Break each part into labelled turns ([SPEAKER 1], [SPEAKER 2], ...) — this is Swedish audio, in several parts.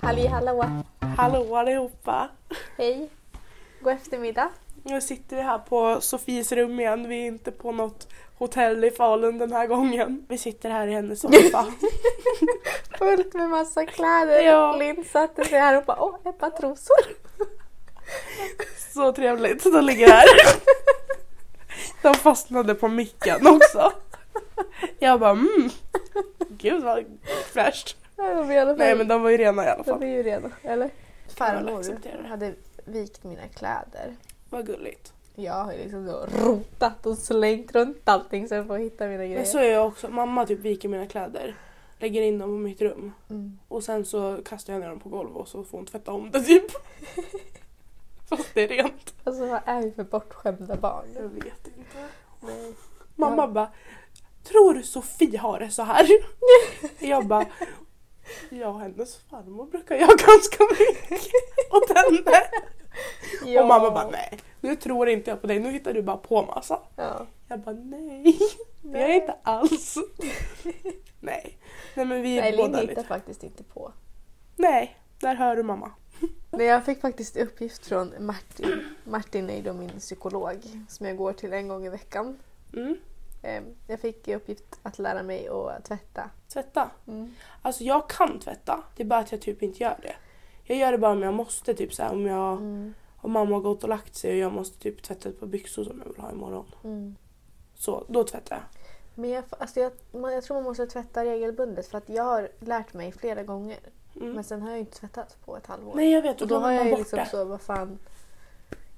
[SPEAKER 1] Halli hallå!
[SPEAKER 2] Hallå allihopa!
[SPEAKER 1] Hej! God eftermiddag!
[SPEAKER 2] Nu sitter vi här på Sofies rum igen. Vi är inte på något hotell i Falun den här gången. Vi sitter här i hennes soffa.
[SPEAKER 1] Fullt med massa kläder.
[SPEAKER 2] Ja.
[SPEAKER 1] Linn satte sig här och bara åh, ett par trosor.
[SPEAKER 2] Så trevligt. De ligger här. De fastnade på micken också. Jag bara mm. Gud vad fräscht.
[SPEAKER 1] Ja, de är i alla fall-
[SPEAKER 2] Nej men de var ju rena i alla
[SPEAKER 1] de
[SPEAKER 2] fall.
[SPEAKER 1] är ju redo, eller?
[SPEAKER 2] väl acceptera
[SPEAKER 1] Farmor
[SPEAKER 2] det.
[SPEAKER 1] hade vikt mina kläder.
[SPEAKER 2] Vad gulligt.
[SPEAKER 1] Jag har ju liksom så rotat och slängt runt allting sen för att hitta mina grejer.
[SPEAKER 2] Men så är jag också. Mamma typ viker mina kläder. Lägger in dem på mitt rum.
[SPEAKER 1] Mm.
[SPEAKER 2] Och sen så kastar jag ner dem på golvet och så får hon tvätta om det typ. Fast det är rent.
[SPEAKER 1] Alltså vad är vi för bortskämda
[SPEAKER 2] Jag
[SPEAKER 1] barn?
[SPEAKER 2] vet inte. Mm.
[SPEAKER 1] Nej.
[SPEAKER 2] Mamma
[SPEAKER 1] Ja.
[SPEAKER 2] bara, tror du Sofie har det så här? jag bara, ja hennes farmor brukar jag ganska mycket åt henne. Och mamma bara, nej nu tror inte jag på dig, nu hittar du bara på massa.
[SPEAKER 1] Ja.
[SPEAKER 2] Jag bara, nej det gör jag inte alls. nej. nej, men vi är
[SPEAKER 1] Nej, Linn
[SPEAKER 2] båda
[SPEAKER 1] hittar
[SPEAKER 2] lite.
[SPEAKER 1] faktiskt inte på.
[SPEAKER 2] Nej, där hör du mamma.
[SPEAKER 1] Nej, jag fick faktiskt uppgift från Martin. Martin är ju då min psykolog som jag går till en gång i veckan.
[SPEAKER 2] Mm.
[SPEAKER 1] Eh, Jag fick i uppgift att lära mig att tvätta.
[SPEAKER 2] Tvätta.
[SPEAKER 1] Mm.
[SPEAKER 2] Alltså jag kan tvätta, det är bara att jag typ inte gör det. Jag gör det bara om jag måste, typ så här, om jag
[SPEAKER 1] Mm.
[SPEAKER 2] Och mamma har gått och lagt sig och jag måste typ tvätta ett par byxor som jag vill ha imorgon.
[SPEAKER 1] Mm.
[SPEAKER 2] Så, då tvättar jag.
[SPEAKER 1] Men jag, alltså jag, man, jag tror man måste tvätta regelbundet för att jag har lärt mig flera gånger
[SPEAKER 2] Mm.
[SPEAKER 1] men sen har jag ju inte tvättat på ett halvår.
[SPEAKER 2] Nej jag vet,
[SPEAKER 1] och då har
[SPEAKER 2] glömmer
[SPEAKER 1] jag
[SPEAKER 2] man
[SPEAKER 1] ju
[SPEAKER 2] bort
[SPEAKER 1] liksom
[SPEAKER 2] det.
[SPEAKER 1] så, vad fan.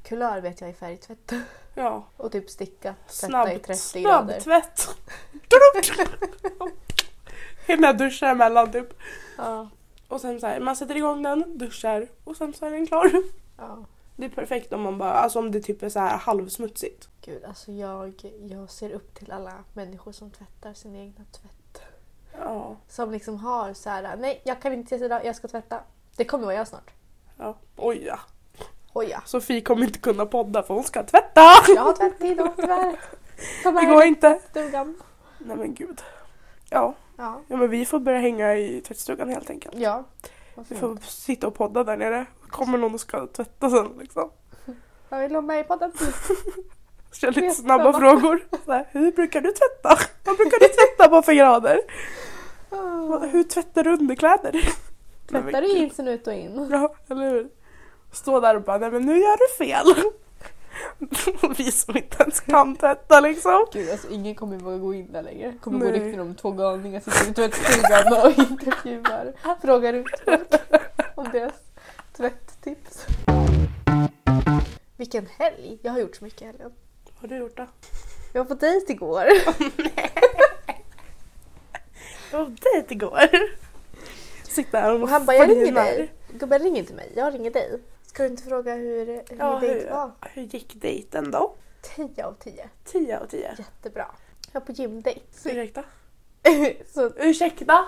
[SPEAKER 1] Kulör vet jag i färgtvätt.
[SPEAKER 2] Ja.
[SPEAKER 1] Och typ sticka, tvätta i
[SPEAKER 2] Snabb,
[SPEAKER 1] 30
[SPEAKER 2] snabb
[SPEAKER 1] grader.
[SPEAKER 2] tvätt. Drup. Hinna duscha emellan typ.
[SPEAKER 1] Ja,
[SPEAKER 2] Och sen så här, man sätter igång den, duschar och sen så är den klar.
[SPEAKER 1] ja.
[SPEAKER 2] Det är perfekt om man bara, alltså om det typ är så här halvsmutsigt.
[SPEAKER 1] Gud, alltså jag, jag ser upp till alla människor som tvättar sin egna tvätt.
[SPEAKER 2] Ja.
[SPEAKER 1] Som liksom har så här, nej jag kan inte ses idag, jag ska tvätta. Det kommer vara jag snart.
[SPEAKER 2] ja. Oj ja.
[SPEAKER 1] Hoja.
[SPEAKER 2] Sofie kommer inte kunna podda för hon ska tvätta.
[SPEAKER 1] Jag har tvättat idag tyvärr. Kom
[SPEAKER 2] Det går
[SPEAKER 1] här,
[SPEAKER 2] inte.
[SPEAKER 1] stugan.
[SPEAKER 2] Nej men gud. Ja.
[SPEAKER 1] Ja.
[SPEAKER 2] ja, men vi får börja hänga i tvättstugan helt enkelt.
[SPEAKER 1] Ja. Vad
[SPEAKER 2] Vi
[SPEAKER 1] fint.
[SPEAKER 2] får sitta och podda där nere. Kommer någon och ska tvätta sen liksom.
[SPEAKER 1] Jag vill vara med i podden.
[SPEAKER 2] Kör lite
[SPEAKER 1] Vet
[SPEAKER 2] snabba
[SPEAKER 1] jag.
[SPEAKER 2] frågor. Så här, hur brukar du tvätta? Vad brukar du tvätta på för grader? Vad- Hur tvättar du underkläder?
[SPEAKER 1] Tvättar du jeansen ut och in?
[SPEAKER 2] Ja, eller hur? Stå där och bara, nej men nu gör du fel. Vi som inte ens kan tvätta liksom.
[SPEAKER 1] Gud, alltså ingen kommer våga gå in där längre.
[SPEAKER 2] Kommer gå Nej. rykten
[SPEAKER 1] om två galningar sitter i tvättstugan och intervjuar. Frågar ut folk om deras tvätttips. Vilken helg! Jag har gjort så mycket i helgen.
[SPEAKER 2] Vad har du gjort då?
[SPEAKER 1] Jag var på dejt igår.
[SPEAKER 2] Jag var på dejt igår. Sitta här och,
[SPEAKER 1] Och han bara, jag ringer
[SPEAKER 2] flinar.
[SPEAKER 1] dig. Gubben ring inte mig, jag ringer dig. Ska du inte fråga hur, hur
[SPEAKER 2] Ja,
[SPEAKER 1] min dejt
[SPEAKER 2] hur?
[SPEAKER 1] var?
[SPEAKER 2] Hur gick dejten då?
[SPEAKER 1] 10 av 10.
[SPEAKER 2] 10 av 10.
[SPEAKER 1] Jättebra. Jag var på gymdejt. Så-
[SPEAKER 2] Ursäkta?
[SPEAKER 1] Så
[SPEAKER 2] Ursäkta?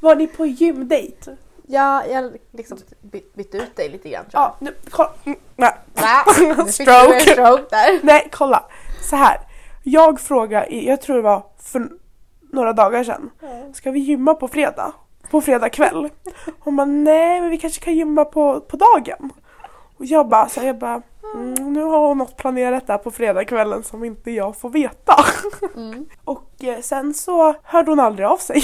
[SPEAKER 2] Var ni på gymdejt?
[SPEAKER 1] ja, jag liksom by- bytte ut dig lite grann. tror jag.
[SPEAKER 2] Ja, nu, kolla. Mm, Nej,
[SPEAKER 1] Va? Nu fick du
[SPEAKER 2] Stroke.
[SPEAKER 1] en stroke där.
[SPEAKER 2] nej, kolla. Så här. Jag frågade, i- jag tror det var för några dagar sedan. Ska vi gymma på fredag? På fredag kväll? Hon bara, nej men vi kanske kan gymma på, på dagen. Och jag bara, så här, jag bara mm, nu har hon något planerat där på fredagskvällen som inte jag får veta.
[SPEAKER 1] Mm.
[SPEAKER 2] Och eh, sen så hörde hon aldrig av sig.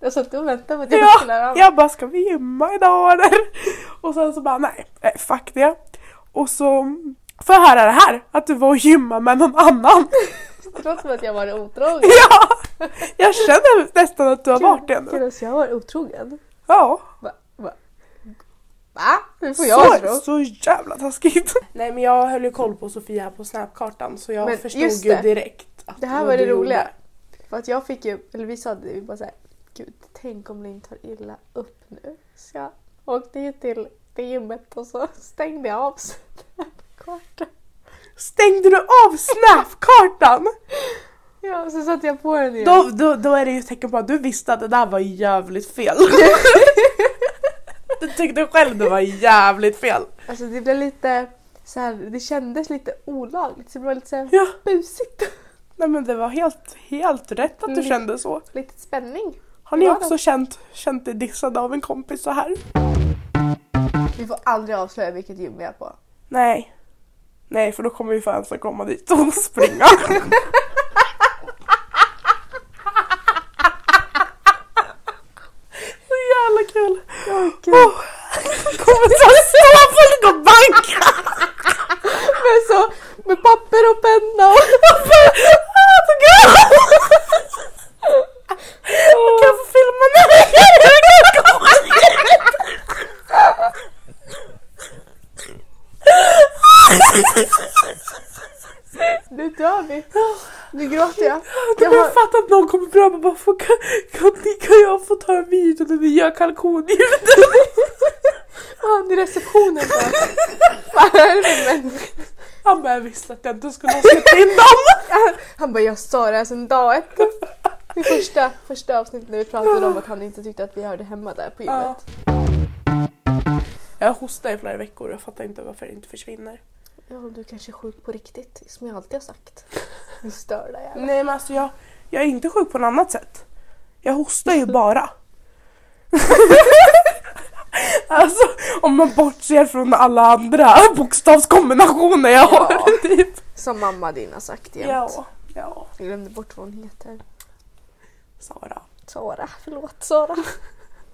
[SPEAKER 1] Jag satt och väntade på att
[SPEAKER 2] Ja,
[SPEAKER 1] jag skulle höra av mig.
[SPEAKER 2] Jag bara, ska vi gymma idag eller? Och sen så bara, nej, eh, fuck det. Och så får jag höra det här, att du var och gymma med någon annan.
[SPEAKER 1] Det låter som att jag var otrogen.
[SPEAKER 2] ja! Jag känner nästan att du har varit det
[SPEAKER 1] Gud,
[SPEAKER 2] nu.
[SPEAKER 1] alltså jag var otrogen.
[SPEAKER 2] Ja.
[SPEAKER 1] Va? Va? Va? Nu får jag
[SPEAKER 2] Så,
[SPEAKER 1] stroke.
[SPEAKER 2] så jävla taskigt. Nej men jag höll ju koll på Sofia på snapkartan så jag
[SPEAKER 1] Men just
[SPEAKER 2] förstod ju
[SPEAKER 1] det.
[SPEAKER 2] direkt. Att
[SPEAKER 1] Det här
[SPEAKER 2] vad
[SPEAKER 1] var det
[SPEAKER 2] du gjorde.
[SPEAKER 1] roliga. För att jag fick ju, eller vi sa det, vi bara såhär, gud tänk om Linn tar illa upp nu. Så jag åkte ju till det gymmet och så stängde jag av snapkartan.
[SPEAKER 2] Stängde du av snapkartan?
[SPEAKER 1] Ja, så satte jag på den igen.
[SPEAKER 2] Då, då, då är det ju ett tecken på att du visste att det där var jävligt fel. du tyckte själv det var jävligt fel.
[SPEAKER 1] Alltså det blev lite så här, det kändes lite olagligt så det var lite såhär
[SPEAKER 2] Ja.
[SPEAKER 1] busigt.
[SPEAKER 2] Nej men det var helt, helt rätt att du
[SPEAKER 1] Mm.
[SPEAKER 2] kände så.
[SPEAKER 1] Lite spänning.
[SPEAKER 2] Har ni
[SPEAKER 1] Ja,
[SPEAKER 2] också
[SPEAKER 1] då.
[SPEAKER 2] känt, känt dig dissad av en kompis så här?
[SPEAKER 1] Vi får aldrig avslöja vilket gym vi är på.
[SPEAKER 2] Nej. Nej för då kommer ju fansen komma dit och springa. så jävla kul.
[SPEAKER 1] gud.
[SPEAKER 2] Åh, kommer så här stå folk och banka.
[SPEAKER 1] Men så, med papper och penna och...
[SPEAKER 2] Ah, så kul. Kan jag få filma nu?
[SPEAKER 1] Nu dör vi. Nu gråter jag.
[SPEAKER 2] Då
[SPEAKER 1] Jag
[SPEAKER 2] har
[SPEAKER 1] har,
[SPEAKER 2] jag fattat att någon kommer fram och bara "Får- kan, kan, ni- kan jag få ta en video när ni gör kalkonljud?
[SPEAKER 1] han i receptionen bara. Vad är det med människa?
[SPEAKER 2] Han bara "Jag visste att jag inte skulle ha släppt in dem.
[SPEAKER 1] Han bara, jag sa det här sedan dag ett. I första, första avsnittet när vi pratade om att han inte tyckte att vi hörde hemma där på
[SPEAKER 2] Ja.
[SPEAKER 1] gymmet.
[SPEAKER 2] Jag hostar i flera veckor och jag fattar inte varför det inte försvinner.
[SPEAKER 1] Ja, du kanske är sjuk på riktigt, som jag alltid har sagt. Du stör dig. jävla.
[SPEAKER 2] Nej men alltså jag, jag är inte sjuk på något annat sätt. Jag hostar ju bara. alltså om man bortser från alla andra bokstavskombinationer jag
[SPEAKER 1] Ja.
[SPEAKER 2] har. Typ.
[SPEAKER 1] Som mamma din har sagt jämt.
[SPEAKER 2] Ja, ja.
[SPEAKER 1] Jag glömde bort vad hon heter.
[SPEAKER 2] Sara.
[SPEAKER 1] Sara, förlåt Sara. Det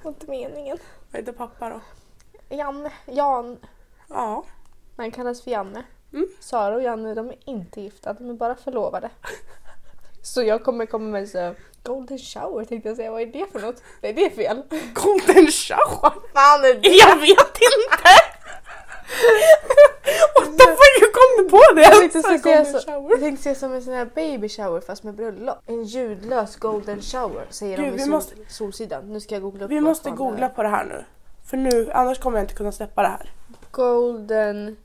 [SPEAKER 1] var inte meningen.
[SPEAKER 2] Vad heter pappa då?
[SPEAKER 1] Janne, Jan.
[SPEAKER 2] Ja.
[SPEAKER 1] Han kallas för Janne.
[SPEAKER 2] Mm.
[SPEAKER 1] Sara och Janne de är inte gifta, de är bara förlovade. Så jag kommer komma med så golden shower tänkte jag säga, vad är det för något? Nej det är fel.
[SPEAKER 2] Golden shower.
[SPEAKER 1] Fan är det?
[SPEAKER 2] Jag vet inte! What the fuck, hur kom du på det?
[SPEAKER 1] Jag tänkte,
[SPEAKER 2] Så här,
[SPEAKER 1] så säga
[SPEAKER 2] golden
[SPEAKER 1] så,
[SPEAKER 2] shower.
[SPEAKER 1] jag tänkte säga som en sån här baby shower fast med bröllop. En ljudlös golden shower säger
[SPEAKER 2] Gud,
[SPEAKER 1] de i
[SPEAKER 2] vi
[SPEAKER 1] sol,
[SPEAKER 2] måste-
[SPEAKER 1] Solsidan. Nu ska jag googla upp
[SPEAKER 2] Vi
[SPEAKER 1] vad
[SPEAKER 2] måste
[SPEAKER 1] fan
[SPEAKER 2] googla
[SPEAKER 1] det
[SPEAKER 2] på det här nu. För nu, annars kommer jag inte kunna släppa det här.
[SPEAKER 1] är. Golden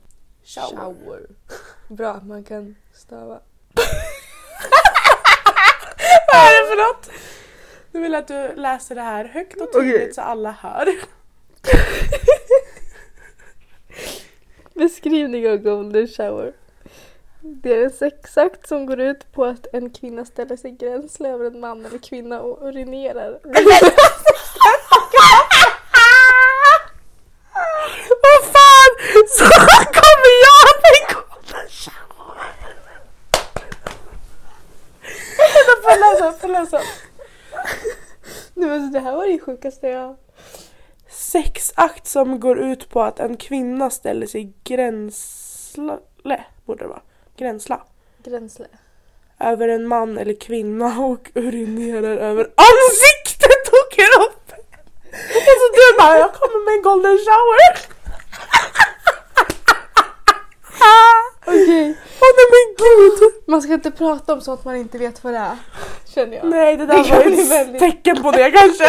[SPEAKER 1] shower.
[SPEAKER 2] Shower.
[SPEAKER 1] Bra att man kan stava.
[SPEAKER 2] Vad är det för något? Nu vill jag att du läser det här högt och tydligt
[SPEAKER 1] Okej.
[SPEAKER 2] så alla hör.
[SPEAKER 1] Beskrivning av golden shower. Det är en sexakt som går ut på att en kvinna ställer sig gränsle över en man eller kvinna och urinerar.
[SPEAKER 2] Vad fan! Så kommer jag med golden shower! Vänta, Får jag läsa? Får jag läsa?
[SPEAKER 1] Nej, men alltså, det här var det sjukaste jag...
[SPEAKER 2] Sexakt som går ut på att en kvinna ställer sig gränsle, borde det vara, gränsla,
[SPEAKER 1] Gränsle.
[SPEAKER 2] över en man eller kvinna och urinerar över ansiktet och kroppen. Och så du bara, jag kommer med en golden shower.
[SPEAKER 1] Okej.
[SPEAKER 2] Åh nej men gud.
[SPEAKER 1] Man ska inte prata om sånt man inte vet vad det är. Känner jag.
[SPEAKER 2] Nej det
[SPEAKER 1] Det
[SPEAKER 2] där
[SPEAKER 1] kan
[SPEAKER 2] var
[SPEAKER 1] bli
[SPEAKER 2] ett
[SPEAKER 1] väldigt-
[SPEAKER 2] tecken på det kanske.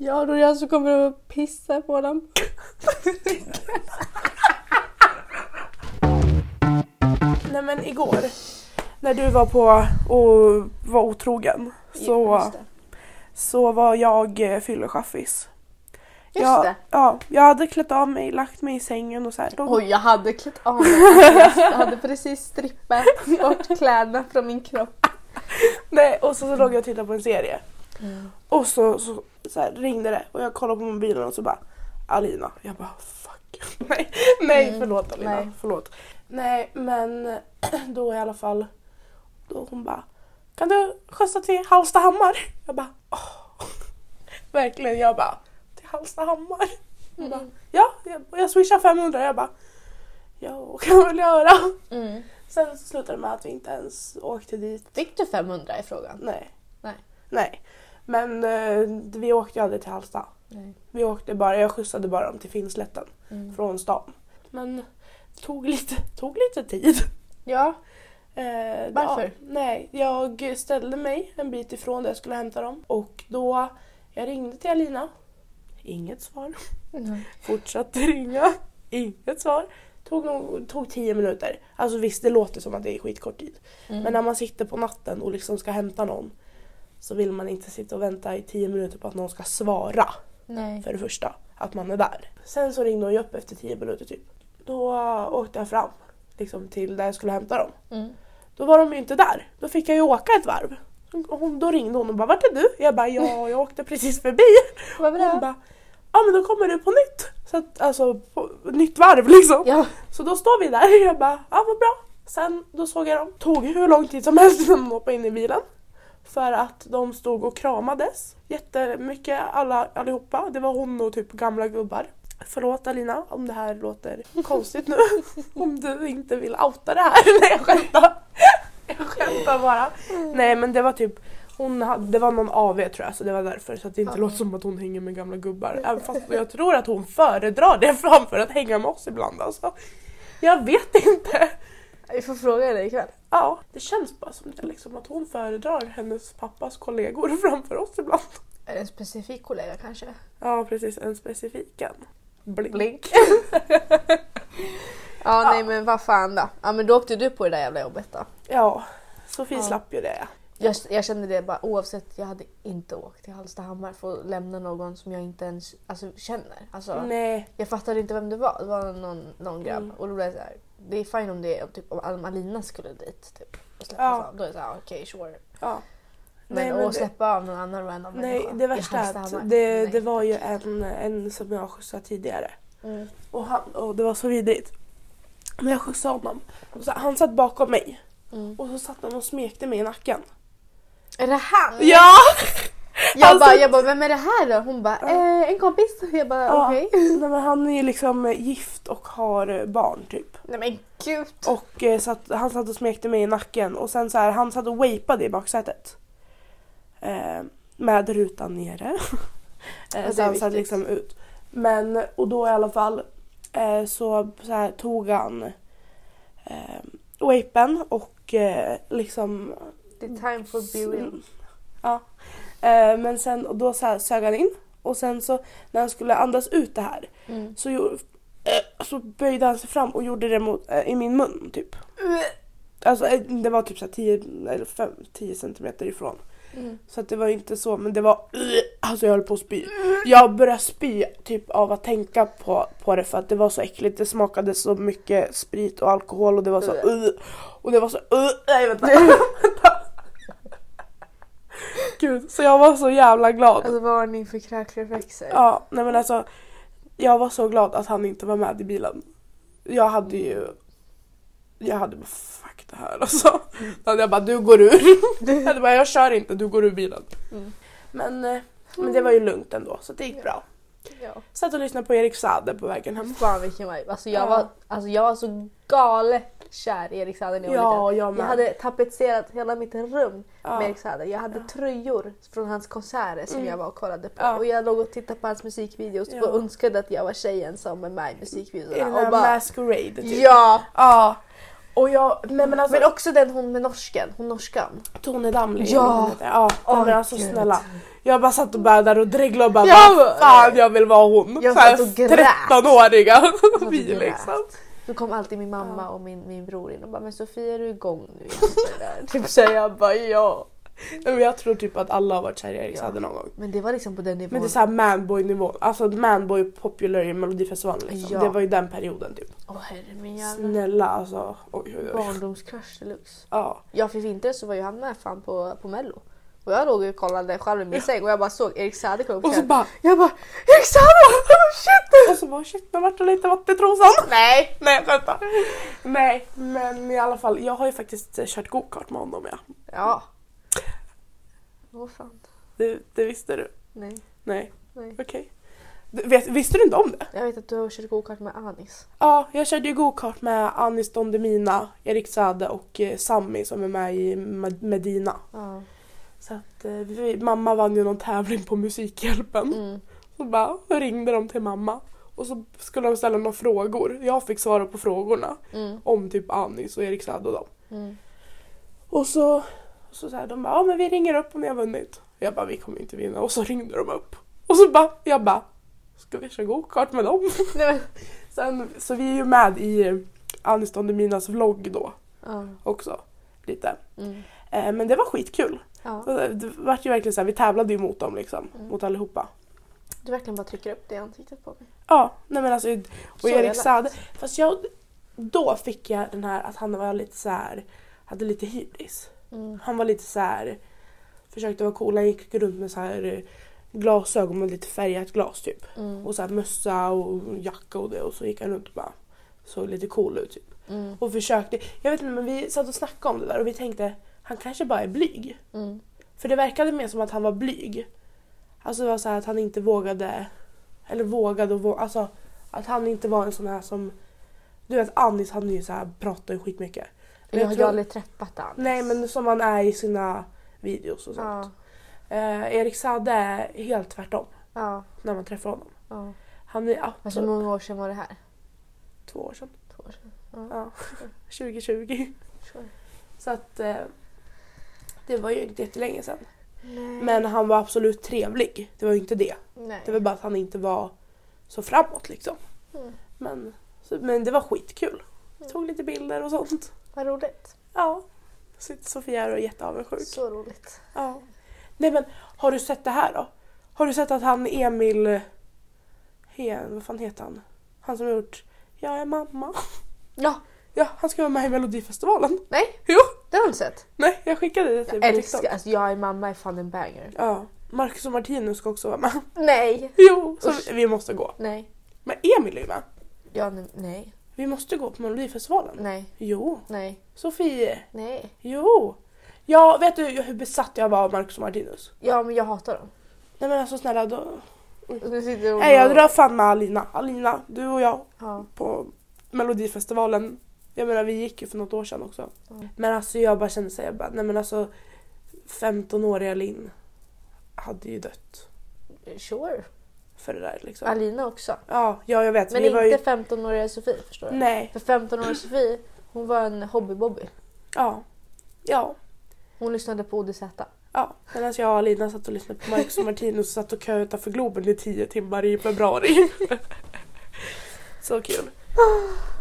[SPEAKER 1] Ja, då är det jag som kommer att pissa på dem.
[SPEAKER 2] Nej men igår, när du var på och var otrogen så,
[SPEAKER 1] Just det.
[SPEAKER 2] så var jag eh, fyllechaffis.
[SPEAKER 1] Just
[SPEAKER 2] ja,
[SPEAKER 1] det.
[SPEAKER 2] Ja, jag hade klätt av mig, lagt mig i sängen och så här. Låg,
[SPEAKER 1] Oj, jag hade klätt av mig. Jag hade precis strippat bort kläderna från min kropp.
[SPEAKER 2] nej, och så, så låg jag och tittade på en serie.
[SPEAKER 1] Mm.
[SPEAKER 2] Och så, så, så här, ringde det och jag kollade på mobilen och så bara Alina. Jag bara fuck. nej, nej
[SPEAKER 1] Mm,
[SPEAKER 2] förlåt Alina.
[SPEAKER 1] nej.
[SPEAKER 2] Förlåt. Nej men då i alla fall. Då hon bara kan du skjutsa till Hallstahammar? Jag bara åh. Verkligen jag bara till Hallstahammar. Hon
[SPEAKER 1] Mm.
[SPEAKER 2] bara, ja, jag, och jag swishar 500 jag bara ja kan jag väl göra.
[SPEAKER 1] Mm.
[SPEAKER 2] Sen så slutade det med att vi inte ens åkte dit.
[SPEAKER 1] Fick du 500 i frågan?
[SPEAKER 2] Nej.
[SPEAKER 1] Nej.
[SPEAKER 2] Nej. Men eh, vi åkte ju aldrig till Hallsta.
[SPEAKER 1] Nej.
[SPEAKER 2] Vi åkte bara, jag skjutsade bara dem till Finnslätten
[SPEAKER 1] Mm.
[SPEAKER 2] från stan. Men det tog lite, tog lite tid.
[SPEAKER 1] Ja,
[SPEAKER 2] Eh,
[SPEAKER 1] Varför?
[SPEAKER 2] Ja, nej, jag ställde mig en bit ifrån där jag skulle hämta dem och då jag ringde till Alina. Inget svar.
[SPEAKER 1] Mm.
[SPEAKER 2] Fortsatte ringa. Inget svar. Tog, nog, tog tio minuter. Alltså visst, det låter som att det är skitkort tid.
[SPEAKER 1] Mm.
[SPEAKER 2] Men när man sitter på natten och liksom ska hämta någon så vill man inte sitta och vänta i tio minuter på att någon ska svara
[SPEAKER 1] Nej.
[SPEAKER 2] för det första, att man är där. Sen så ringde hon ju upp efter tio minuter typ. Då åkte jag fram liksom till där jag skulle hämta dem.
[SPEAKER 1] Mm.
[SPEAKER 2] Då var de ju inte där. Då fick jag ju åka ett varv. Och Hon, då ringde hon och bara vart är du? Jag bara ja, jag åkte precis förbi.
[SPEAKER 1] Vad var
[SPEAKER 2] Hon
[SPEAKER 1] det?
[SPEAKER 2] bara ja men då kommer du på nytt. Så att, alltså på, nytt varv liksom.
[SPEAKER 1] Ja.
[SPEAKER 2] Så då står vi där och jag bara, ja vad bra. Sen då såg jag dem. Tog hur lång tid som helst innan de hoppade in i bilen. För att de stod och kramades jättemycket alla, allihopa. Det var hon och typ gamla gubbar. Förlåt Alina om det här låter konstigt nu. om du inte vill outa det här. Nej jag skämtar. Jag skämtar bara. Nej men det var typ hon hade, det var någon AV tror jag så det var därför så att det inte
[SPEAKER 1] Ja.
[SPEAKER 2] låter som att hon hänger med gamla gubbar. Även fast jag tror att hon föredrar det framför att hänga med oss ibland alltså. Jag vet inte.
[SPEAKER 1] Vi får fråga henne ikväll.
[SPEAKER 2] Ja, det känns bara som det liksom att hon föredrar hennes pappas kollegor framför oss ibland.
[SPEAKER 1] Är det en specifik kollega kanske?
[SPEAKER 2] Ja precis, en specifiken. Blink.
[SPEAKER 1] Blink. ja, nej men vad fan då. Ja men då åkte du på det där jävla jobbet då.
[SPEAKER 2] Ja, Sofie
[SPEAKER 1] Ja.
[SPEAKER 2] slapp ju det.
[SPEAKER 1] Jag, jag kände det bara oavsett, jag hade inte åkt till Hallstahammar för att lämna någon som jag inte ens alltså, känner. Alltså,
[SPEAKER 2] Nej.
[SPEAKER 1] jag fattade inte vem det var, det var någon, någon grabb.
[SPEAKER 2] Mm.
[SPEAKER 1] Och då blev jag såhär, det är fine om det är typ, om Alma- Alina skulle dit typ, och släppa
[SPEAKER 2] Ja.
[SPEAKER 1] av. Då är jag såhär, okej sure.
[SPEAKER 2] Ja.
[SPEAKER 1] Men,
[SPEAKER 2] Nej,
[SPEAKER 1] att
[SPEAKER 2] det-
[SPEAKER 1] släppa av någon annan random
[SPEAKER 2] Nej,
[SPEAKER 1] människa
[SPEAKER 2] det
[SPEAKER 1] i
[SPEAKER 2] värsta är
[SPEAKER 1] Hallstahammar,
[SPEAKER 2] att det,
[SPEAKER 1] nej.
[SPEAKER 2] det var ju en, en som jag skjutsade tidigare.
[SPEAKER 1] Mm.
[SPEAKER 2] Och, han, och det var så vidrigt. När jag skjutsade honom, så han satt bakom mig
[SPEAKER 1] Mm.
[SPEAKER 2] och så satt han och smekte mig i nacken.
[SPEAKER 1] Är det han?
[SPEAKER 2] Ja!
[SPEAKER 1] Jag,
[SPEAKER 2] Alltså-
[SPEAKER 1] bara, jag bara, vem är det här då? Hon bara,
[SPEAKER 2] Ja.
[SPEAKER 1] eh, en kompis. Jag bara,
[SPEAKER 2] Ja.
[SPEAKER 1] okej.
[SPEAKER 2] Nej, men han är ju liksom gift och har barn typ.
[SPEAKER 1] Nej men gud.
[SPEAKER 2] Och eh, satt, han satt och smekte mig i nacken och sen så här, han satt och wapade i baksätet. Eh, med rutan nere.
[SPEAKER 1] är
[SPEAKER 2] eh, så han satt
[SPEAKER 1] viktigt.
[SPEAKER 2] liksom ut. Men, och då i alla fall eh, så, så här, tog han eh, wapen och eh, liksom
[SPEAKER 1] Det är time for be real.
[SPEAKER 2] Ja. Eh, men sen och då så här, sög han in och sen så när han skulle andas ut det här
[SPEAKER 1] Mm.
[SPEAKER 2] så, gjorde, eh, så böjde han sig fram och gjorde det mot, eh, i min mun typ. Alltså eh, det var typ så här 10 eller 5, 10 centimeter ifrån.
[SPEAKER 1] Mm.
[SPEAKER 2] Så att det var ju inte så men det var alltså jag höll på att spy. Jag började spy typ av att tänka på, på det för att det var så äckligt. Det smakade så mycket sprit och alkohol och det var så eh, och det var så eh, nej vänta. Vänta. Gud, så jag var så jävla glad.
[SPEAKER 1] Alltså varning för kräkreflexer.
[SPEAKER 2] Ja, nej men alltså. Jag var så glad att han inte var med i bilen. Jag hade ju... Jag hade bara fuck det här alltså. Då hade jag bara du går ur. Jag hade bara jag kör inte, du går ur bilen.
[SPEAKER 1] Mm.
[SPEAKER 2] Men, eh, men det var ju lugnt ändå så det gick bra.
[SPEAKER 1] Ja.
[SPEAKER 2] Satt och lyssnade på Erik Saade på vägen hem.
[SPEAKER 1] Fan vilken vibe. Alltså jag,
[SPEAKER 2] Ja.
[SPEAKER 1] var, alltså jag var så galet kär i Erik Saade när jag var liten.
[SPEAKER 2] Ja, jag med.
[SPEAKER 1] Jag hade tapetserat hela mitt rum med
[SPEAKER 2] ja.
[SPEAKER 1] Erik Saade. Jag hade
[SPEAKER 2] Ja.
[SPEAKER 1] tröjor från hans konserter som
[SPEAKER 2] Mm.
[SPEAKER 1] jag var och kollade på.
[SPEAKER 2] Ja.
[SPEAKER 1] Och jag låg och tittade på hans musikvideos
[SPEAKER 2] Ja.
[SPEAKER 1] och önskade att jag var tjejen som är med i
[SPEAKER 2] I den
[SPEAKER 1] musikvideorna.
[SPEAKER 2] här
[SPEAKER 1] Och bara,
[SPEAKER 2] Masquerade typ.
[SPEAKER 1] ja!
[SPEAKER 2] Ja. Och jag, nej men alltså
[SPEAKER 1] Men också den hon med norsken, hon norskan.
[SPEAKER 2] Tone Damli.
[SPEAKER 1] Ja.
[SPEAKER 2] eller vad hon heter. ja. nej,
[SPEAKER 1] Åh,
[SPEAKER 2] men alltså
[SPEAKER 1] gud.
[SPEAKER 2] snälla. Jag bara satt och bädade och dreglade och bara
[SPEAKER 1] Ja,
[SPEAKER 2] vad fan jag vill vara hon.
[SPEAKER 1] Jag
[SPEAKER 2] Så här,
[SPEAKER 1] satt och grät.
[SPEAKER 2] 13-åriga
[SPEAKER 1] och
[SPEAKER 2] vi
[SPEAKER 1] grät.
[SPEAKER 2] liksom.
[SPEAKER 1] Då kom alltid min mamma
[SPEAKER 2] Ja.
[SPEAKER 1] och min, min bror in och bara “men Sofia är du igång nu?” igen?" Typ så jag bara “ja”.
[SPEAKER 2] Nej, men Jag tror typ att alla har varit kära i Erik Saade någon gång.
[SPEAKER 1] Men det var liksom på den nivån.
[SPEAKER 2] Men det är såhär manboy nivå, alltså manboy popular i melodifestivalen liksom.
[SPEAKER 1] Ja.
[SPEAKER 2] Det var ju den perioden typ.
[SPEAKER 1] Åh herre min jävla
[SPEAKER 2] Snälla alltså. Oj, oj, oj.
[SPEAKER 1] barndomskrush deluxe.
[SPEAKER 2] Ja.
[SPEAKER 1] Ja för i vinter så var ju han med fan på, på mello. Och jag låg och kollade själv i min säng och jag bara såg Erik Saade komma upp
[SPEAKER 2] Och så
[SPEAKER 1] scenen.
[SPEAKER 2] bara,
[SPEAKER 1] Jag bara “Erik Saade! Oh, shit!”
[SPEAKER 2] och så bara shit men vart det lite vattentrosan?
[SPEAKER 1] Nej!
[SPEAKER 2] Nej jag skämtar. Nej men i alla fall jag har ju faktiskt eh, kört gokart med honom ja.
[SPEAKER 1] Ja. Åh fan.
[SPEAKER 2] Det, det visste du?
[SPEAKER 1] Nej,
[SPEAKER 2] Nej.
[SPEAKER 1] nej.
[SPEAKER 2] Okej. Du, Vet, visste du inte om det?
[SPEAKER 1] Jag vet att du har kört gokart med Anis.
[SPEAKER 2] Ja, jag körde ju gokart med Anis Don Demina, Erik Saade och eh, Sammy som är med i Med- Medina.
[SPEAKER 1] Ja.
[SPEAKER 2] Så att eh, vi, mamma vann ju någon tävling på Musikhjälpen.
[SPEAKER 1] Mm.
[SPEAKER 2] Så bara då ringde de till mamma och så skulle de ställa några frågor. Jag fick svara på frågorna
[SPEAKER 1] Mm.
[SPEAKER 2] om typ Anis och Erik Saade och dem.
[SPEAKER 1] Mm.
[SPEAKER 2] Och så, så, så här, de bara, ja men vi ringer upp om ni har vunnit. Jag bara, vi kommer inte vinna. Och så ringde de upp. Och så bara, jag bara, ska vi köra gokart med dem?
[SPEAKER 1] Nej men.
[SPEAKER 2] Sen, så vi är ju med i Anis Don Deminas vlogg då
[SPEAKER 1] Ja.
[SPEAKER 2] också. Lite.
[SPEAKER 1] Mm.
[SPEAKER 2] Eh, men det var skitkul.
[SPEAKER 1] ja.
[SPEAKER 2] Och Det det vart ju verkligen så här, vi tävlade ju mot dem liksom.
[SPEAKER 1] Mm.
[SPEAKER 2] Mot allihopa.
[SPEAKER 1] Du verkligen bara trycker upp det i ansiktet på mig.
[SPEAKER 2] Ja, nej men alltså. Och
[SPEAKER 1] Så
[SPEAKER 2] Erik
[SPEAKER 1] jävla-
[SPEAKER 2] Saade. Fast jag, då fick jag den här att han var lite så här. hade lite hybris.
[SPEAKER 1] Mm.
[SPEAKER 2] Han var lite så här. försökte vara cool, han gick runt med så här eh, glasögon med lite färgat glas typ.
[SPEAKER 1] Mm.
[SPEAKER 2] Och så här mössa och jacka och det och så gick han runt och bara såg lite cool ut typ.
[SPEAKER 1] Mm.
[SPEAKER 2] Och försökte, jag vet inte men vi satt och snackade om det där och vi tänkte han kanske bara är blyg.
[SPEAKER 1] Mm.
[SPEAKER 2] För det verkade mer som att han var blyg. Alltså det var så här att han inte vågade, eller vågade och vågade, alltså att han inte var en sån här som, du vet Anis han är ju så här, pratar ju skitmycket. Men
[SPEAKER 1] Jag har
[SPEAKER 2] jag
[SPEAKER 1] ju
[SPEAKER 2] tror-
[SPEAKER 1] aldrig träffat han.
[SPEAKER 2] Nej men som han är i sina videos och sånt.
[SPEAKER 1] Ja.
[SPEAKER 2] Eh, Erik Sade är helt tvärtom
[SPEAKER 1] Ja.
[SPEAKER 2] när man träffar honom.
[SPEAKER 1] ja.
[SPEAKER 2] Han är absolut
[SPEAKER 1] Alltså hur många år sedan var det här?
[SPEAKER 2] två år sedan.
[SPEAKER 1] Två år sedan.
[SPEAKER 2] Ja. 2020.
[SPEAKER 1] Sure.
[SPEAKER 2] Så att eh, det var ju inte jättelänge sedan.
[SPEAKER 1] Nej.
[SPEAKER 2] Men han var absolut trevlig. Det var ju inte det.
[SPEAKER 1] Nej.
[SPEAKER 2] Det var bara att han inte var så framåt liksom.
[SPEAKER 1] Mm.
[SPEAKER 2] Men, så, men det var skitkul.
[SPEAKER 1] Mm.
[SPEAKER 2] Tog lite bilder och sånt.
[SPEAKER 1] Vad roligt.
[SPEAKER 2] Ja. Sitter Sofia här och är jätteavundsjuk.
[SPEAKER 1] Så roligt.
[SPEAKER 2] Ja. Nej men har du sett det här då? Har du sett att han Emil... Hen, vad fan heter han? Han som har gjort Jag är mamma.
[SPEAKER 1] Ja.
[SPEAKER 2] Ja, han ska vara med i Melodifestivalen.
[SPEAKER 1] Nej.
[SPEAKER 2] Jo!
[SPEAKER 1] Det har du sett?
[SPEAKER 2] Nej, jag skickade det till
[SPEAKER 1] Jag
[SPEAKER 2] dig på TikTok.
[SPEAKER 1] älskar, alltså jag är mamma är fan en banger.
[SPEAKER 2] Ja. Marcus och Martinus ska också vara med.
[SPEAKER 1] Nej.
[SPEAKER 2] Jo! Så
[SPEAKER 1] Usch.
[SPEAKER 2] vi- vi måste gå.
[SPEAKER 1] Nej.
[SPEAKER 2] Men Emil är ju med.
[SPEAKER 1] Ja, ne- nej.
[SPEAKER 2] Vi måste gå på Melodifestivalen.
[SPEAKER 1] Nej.
[SPEAKER 2] Jo.
[SPEAKER 1] Nej.
[SPEAKER 2] Sofie.
[SPEAKER 1] Nej.
[SPEAKER 2] Jo. Ja, vet du hur besatt jag var av Marcus och Martinus?
[SPEAKER 1] Ja, men jag hatar dem.
[SPEAKER 2] Nej men alltså snälla då.
[SPEAKER 1] Nu sitter hon
[SPEAKER 2] Nej jag
[SPEAKER 1] och-
[SPEAKER 2] drar fan med Alina. Alina, du och jag
[SPEAKER 1] Ja.
[SPEAKER 2] på Melodifestivalen. Jag menar vi gick ju för något år sedan också.
[SPEAKER 1] Mm.
[SPEAKER 2] Men alltså jag bara kände såhär, jag bara, nej men alltså 15-åriga Linn hade ju dött
[SPEAKER 1] Sure.
[SPEAKER 2] för det där liksom.
[SPEAKER 1] Alina också.
[SPEAKER 2] Ja, ja jag vet.
[SPEAKER 1] Men
[SPEAKER 2] vi var
[SPEAKER 1] inte
[SPEAKER 2] ju...
[SPEAKER 1] 15-åriga Sofie förstår du.
[SPEAKER 2] Nej,
[SPEAKER 1] För 15-åriga Sofie, hon var en hobbybobby.
[SPEAKER 2] ja. Ja,
[SPEAKER 1] Hon lyssnade på ODZ.
[SPEAKER 2] ja. Medan jag och Alina satt och lyssnade på Marcus och Martinus och satt och köade utanför Globen i 10 timmar i februari. Så kul.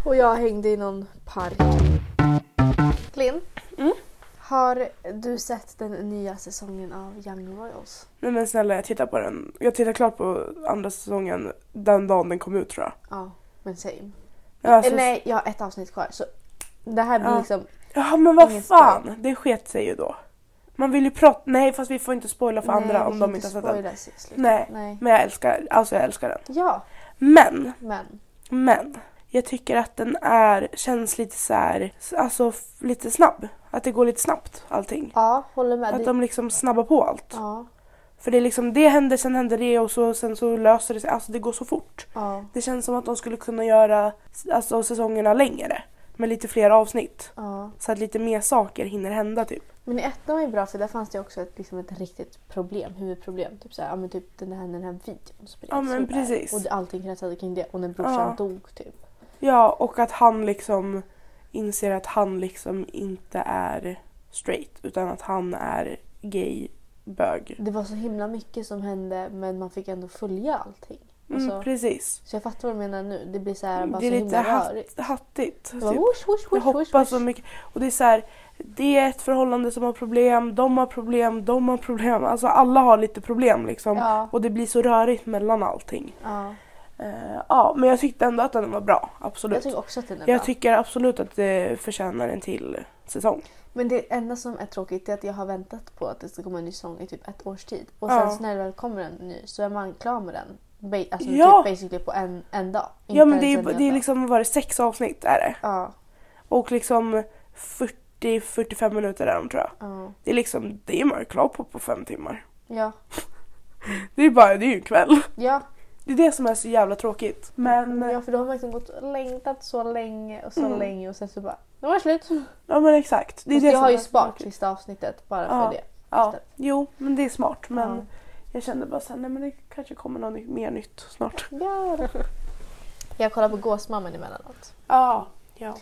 [SPEAKER 1] Och jag hängde i någon park. Linn.
[SPEAKER 2] Mm?
[SPEAKER 1] Har du sett den nya säsongen av Young Royals?
[SPEAKER 2] Nej men snälla jag tittar på den. Jag tittar klart på andra säsongen den dagen den kom ut tror jag.
[SPEAKER 1] Ja, men same.
[SPEAKER 2] Men Alltså,
[SPEAKER 1] Eh, Nej, jag har ett avsnitt kvar. Så det här blir
[SPEAKER 2] Ja.
[SPEAKER 1] liksom...
[SPEAKER 2] Ja men vad
[SPEAKER 1] Ingen
[SPEAKER 2] fan, det sket sig ju då. Man vill ju prata, nej fast vi får inte spoila för
[SPEAKER 1] Nej, vi
[SPEAKER 2] andra om
[SPEAKER 1] kan
[SPEAKER 2] de inte har sett den.
[SPEAKER 1] spoila sig i slutet.
[SPEAKER 2] Nej,
[SPEAKER 1] Nej.
[SPEAKER 2] men jag älskar, alltså jag älskar den.
[SPEAKER 1] Ja,
[SPEAKER 2] Men,
[SPEAKER 1] men.
[SPEAKER 2] men. Jag tycker att den är, känns lite så här, alltså f- lite snabb. Att det går lite snabbt allting.
[SPEAKER 1] Ja, håller med.
[SPEAKER 2] Att
[SPEAKER 1] Det-
[SPEAKER 2] de liksom snabbar på allt.
[SPEAKER 1] Ja,
[SPEAKER 2] För det är liksom, det händer, sen händer det och så, sen så löser det sig. Alltså det går så fort.
[SPEAKER 1] ja,
[SPEAKER 2] Det känns som att de skulle kunna göra alltså, säsongerna längre. Med lite fler avsnitt.
[SPEAKER 1] ja.
[SPEAKER 2] Så att lite mer saker hinner hända typ.
[SPEAKER 1] Men i ettan var ju bra för där fanns det också ett, liksom ett riktigt problem, huvudproblem. Typ såhär, ja men typ den här, den här videon spreds.
[SPEAKER 2] Ja, men
[SPEAKER 1] och där.
[SPEAKER 2] precis.
[SPEAKER 1] Och det- allting kretsade kring det och när brorsan
[SPEAKER 2] Ja.
[SPEAKER 1] dog typ.
[SPEAKER 2] Ja, och att han liksom inser att han liksom inte är straight utan att han är gay, bög.
[SPEAKER 1] Det var så himla mycket som hände men man fick ändå följa allting.
[SPEAKER 2] Mm,
[SPEAKER 1] Alltså,
[SPEAKER 2] precis.
[SPEAKER 1] så jag fattar vad du menar nu. Det blir såhär bara
[SPEAKER 2] Det är
[SPEAKER 1] så
[SPEAKER 2] lite
[SPEAKER 1] himla
[SPEAKER 2] hat,
[SPEAKER 1] rörigt.
[SPEAKER 2] hattigt.
[SPEAKER 1] Det var
[SPEAKER 2] typ.
[SPEAKER 1] whoosh, whoosh,
[SPEAKER 2] Jag
[SPEAKER 1] whoosh,
[SPEAKER 2] hoppas
[SPEAKER 1] whoosh,
[SPEAKER 2] så
[SPEAKER 1] whoosh.
[SPEAKER 2] mycket. Och det är så här, det är ett förhållande som har problem, de har problem, de har problem. Alltså alla har lite problem liksom.
[SPEAKER 1] Ja.
[SPEAKER 2] Och det blir så rörigt mellan allting.
[SPEAKER 1] Ja.
[SPEAKER 2] Eh, ja, men jag tyckte ändå att den var bra. Absolut.
[SPEAKER 1] Jag tycker också att den är
[SPEAKER 2] Jag
[SPEAKER 1] bra.
[SPEAKER 2] tycker absolut att det förtjänar en till säsong.
[SPEAKER 1] Men det enda som är tråkigt är att jag har väntat på att det ska komma en ny sång i typ ett års tid. Och
[SPEAKER 2] Ja.
[SPEAKER 1] sen så när det väl kommer en ny så är man klar med den. Ba- alltså
[SPEAKER 2] Ja.
[SPEAKER 1] typ basically på en, en dag.
[SPEAKER 2] Ja men det är,
[SPEAKER 1] ens
[SPEAKER 2] ju-
[SPEAKER 1] en hel
[SPEAKER 2] det är
[SPEAKER 1] dag.
[SPEAKER 2] liksom, vad var det, sex avsnitt är det.
[SPEAKER 1] Ja,
[SPEAKER 2] Och liksom 40-45 minuter är de tror jag.
[SPEAKER 1] ja,
[SPEAKER 2] Det är liksom, det är man ju klar på på fem timmar.
[SPEAKER 1] ja,
[SPEAKER 2] Det är bara, det är ju kväll.
[SPEAKER 1] ja.
[SPEAKER 2] Det är det som är så jävla tråkigt. Men, eh,
[SPEAKER 1] ja, för då har man liksom gått och längtat så länge och så
[SPEAKER 2] Mm.
[SPEAKER 1] länge och sen så bara, nu var det slut.
[SPEAKER 2] ja men exakt. Det är
[SPEAKER 1] Fast
[SPEAKER 2] det
[SPEAKER 1] jag
[SPEAKER 2] som
[SPEAKER 1] har ju liksom.
[SPEAKER 2] är så
[SPEAKER 1] sparat
[SPEAKER 2] tråkigt.
[SPEAKER 1] sista avsnittet bara
[SPEAKER 2] Ja.
[SPEAKER 1] för det.
[SPEAKER 2] Ja,
[SPEAKER 1] istället.
[SPEAKER 2] jo men det är smart men
[SPEAKER 1] Ja.
[SPEAKER 2] jag kände bara såhär, nej men det kanske kommer något ny- mer nytt snart.
[SPEAKER 1] Ja. Jag kollar på Gåsmamman emellanåt.
[SPEAKER 2] Ja, ja.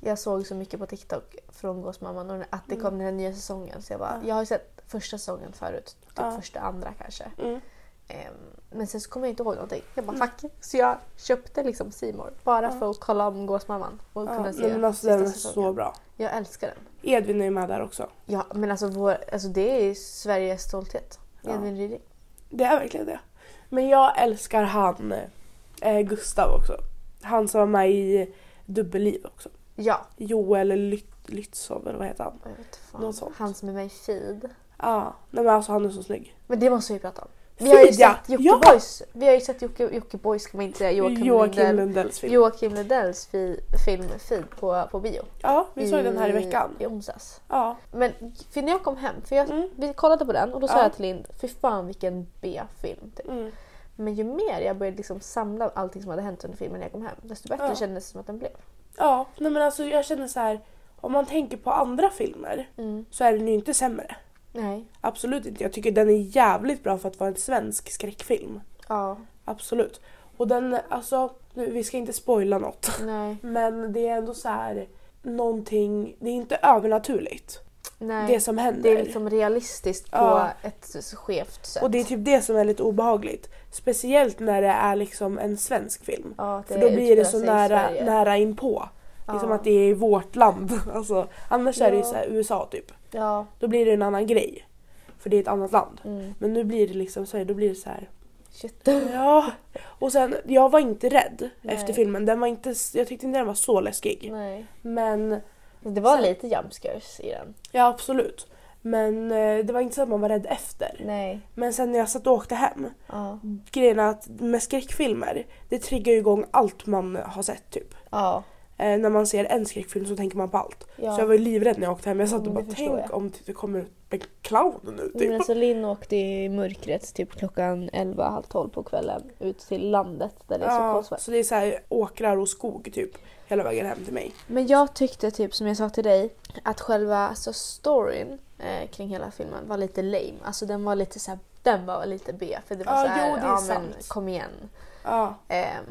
[SPEAKER 1] Jag såg så mycket på TikTok från Gåsmamman och att det kom den här nya säsongen. Så jag bara,
[SPEAKER 2] Mm. Ja.
[SPEAKER 1] jag har ju sett första säsongen förut. Typ
[SPEAKER 2] Ja.
[SPEAKER 1] första, andra kanske.
[SPEAKER 2] Mm.
[SPEAKER 1] Ehm, men sen så kom jag inte ihåg någonting. Jag bara fuck. Så jag köpte liksom C More bara
[SPEAKER 2] Ja.
[SPEAKER 1] för att kolla om Gåsmamman och
[SPEAKER 2] ja
[SPEAKER 1] kunna
[SPEAKER 2] nej,
[SPEAKER 1] se
[SPEAKER 2] men alltså
[SPEAKER 1] sista
[SPEAKER 2] den är så
[SPEAKER 1] säsongen.
[SPEAKER 2] bra.
[SPEAKER 1] Jag älskar den.
[SPEAKER 2] Edvin är ju med där också.
[SPEAKER 1] Ja, men alltså, vår, alltså det är ju Sveriges stolthet.
[SPEAKER 2] Ja.
[SPEAKER 1] Edvin Ryding.
[SPEAKER 2] Det är verkligen det. Men jag älskar han eh, Gustav också. Han som var med i Dubbelliv också.
[SPEAKER 1] Ja,
[SPEAKER 2] Joel Lytt Litzov eller vad heter han?
[SPEAKER 1] Jag vet inte fan.
[SPEAKER 2] Något sånt.
[SPEAKER 1] Han som är med i Feed.
[SPEAKER 2] Ja, nej men alltså han är så snygg.
[SPEAKER 1] Men det måste vi prata om. Vi har ju
[SPEAKER 2] Feed, ja!
[SPEAKER 1] sett Jocke
[SPEAKER 2] Ja!
[SPEAKER 1] Boys. Vi har ju sett Jocke, Jocke Boys ska man inte säga. Joakim,
[SPEAKER 2] Joakim
[SPEAKER 1] Lundell.
[SPEAKER 2] Lundells film.
[SPEAKER 1] Joakim Lundells fi, film Feed på, på bio.
[SPEAKER 2] Ja, vi såg den här i veckan.
[SPEAKER 1] I onsdags.
[SPEAKER 2] Ja,
[SPEAKER 1] Men för när jag kom hem, för jag,
[SPEAKER 2] Mm.
[SPEAKER 1] vi kollade på den och då sa
[SPEAKER 2] Ja.
[SPEAKER 1] jag till Lind, fy fan vilken B-film. Typ.
[SPEAKER 2] mm.
[SPEAKER 1] Men ju mer jag började liksom samla allting som hade hänt under filmen när jag kom hem, desto bättre
[SPEAKER 2] Ja.
[SPEAKER 1] kändes det som att den blev.
[SPEAKER 2] ja nej men alltså jag känner så här. Om man tänker på andra filmer så är den ju inte sämre.
[SPEAKER 1] Nej.
[SPEAKER 2] Absolut inte. Jag tycker den är jävligt bra för att vara en svensk skräckfilm.
[SPEAKER 1] Ja.
[SPEAKER 2] Absolut. Och den, alltså, nu, vi ska inte spoila något.
[SPEAKER 1] Nej.
[SPEAKER 2] Men det är ändå så här någonting, det är inte övernaturligt
[SPEAKER 1] Nej.
[SPEAKER 2] det som händer.
[SPEAKER 1] Det är liksom realistiskt på
[SPEAKER 2] Ja.
[SPEAKER 1] ett skevt sätt.
[SPEAKER 2] Och det är typ det som är lite obehagligt. Speciellt när det är liksom en svensk film.
[SPEAKER 1] ja,
[SPEAKER 2] För då blir det så
[SPEAKER 1] utspelar sig typ i
[SPEAKER 2] nära,
[SPEAKER 1] Sverige.
[SPEAKER 2] nära inpå.
[SPEAKER 1] Ja.
[SPEAKER 2] Liksom att det är i vårt land. Alltså, annars är det ju
[SPEAKER 1] Ja.
[SPEAKER 2] så här USA typ.
[SPEAKER 1] Ja.
[SPEAKER 2] Då blir det en annan grej. För det är ett annat land.
[SPEAKER 1] Mm.
[SPEAKER 2] Men nu blir det liksom Sverige, då blir det så här.
[SPEAKER 1] Shit.
[SPEAKER 2] Ja. Och sen, jag var inte rädd
[SPEAKER 1] Nej.
[SPEAKER 2] efter filmen. Den var inte, jag tyckte inte den var så läskig.
[SPEAKER 1] Nej.
[SPEAKER 2] Men
[SPEAKER 1] Det var
[SPEAKER 2] Så-
[SPEAKER 1] lite jumpscares i den.
[SPEAKER 2] Ja absolut. Men eh, det var inte så att man var rädd efter.
[SPEAKER 1] Nej.
[SPEAKER 2] Men sen när jag satt och åkte hem.
[SPEAKER 1] Ja.
[SPEAKER 2] Grejen är att med skräckfilmer, det triggar ju igång allt man har sett typ.
[SPEAKER 1] Ja.
[SPEAKER 2] Eh, när man ser en skräckfilm så tänker man på allt.
[SPEAKER 1] ja.
[SPEAKER 2] Så jag var ju livrädd när jag åkte hem. Jag
[SPEAKER 1] Ja,
[SPEAKER 2] satt och
[SPEAKER 1] men
[SPEAKER 2] bara
[SPEAKER 1] det förstår
[SPEAKER 2] tänk
[SPEAKER 1] jag."
[SPEAKER 2] om det kommer ut en clown nu
[SPEAKER 1] Men
[SPEAKER 2] typ.
[SPEAKER 1] alltså Linn åkte i mörkret typ klockan 11, halv 12 på kvällen ut till landet där det är så
[SPEAKER 2] Ja,
[SPEAKER 1] kolsvart.
[SPEAKER 2] så det är så här åkrar och skog typ hela vägen hem till mig.
[SPEAKER 1] Men jag tyckte typ som jag sa till dig att själva alltså, storyn eh, kring hela filmen var lite lame. Alltså den var lite så här, den var lite B för det var
[SPEAKER 2] Ja,
[SPEAKER 1] så här,
[SPEAKER 2] jo, det är
[SPEAKER 1] ja men
[SPEAKER 2] sant.
[SPEAKER 1] kom igen.
[SPEAKER 2] Ja,
[SPEAKER 1] Ehm,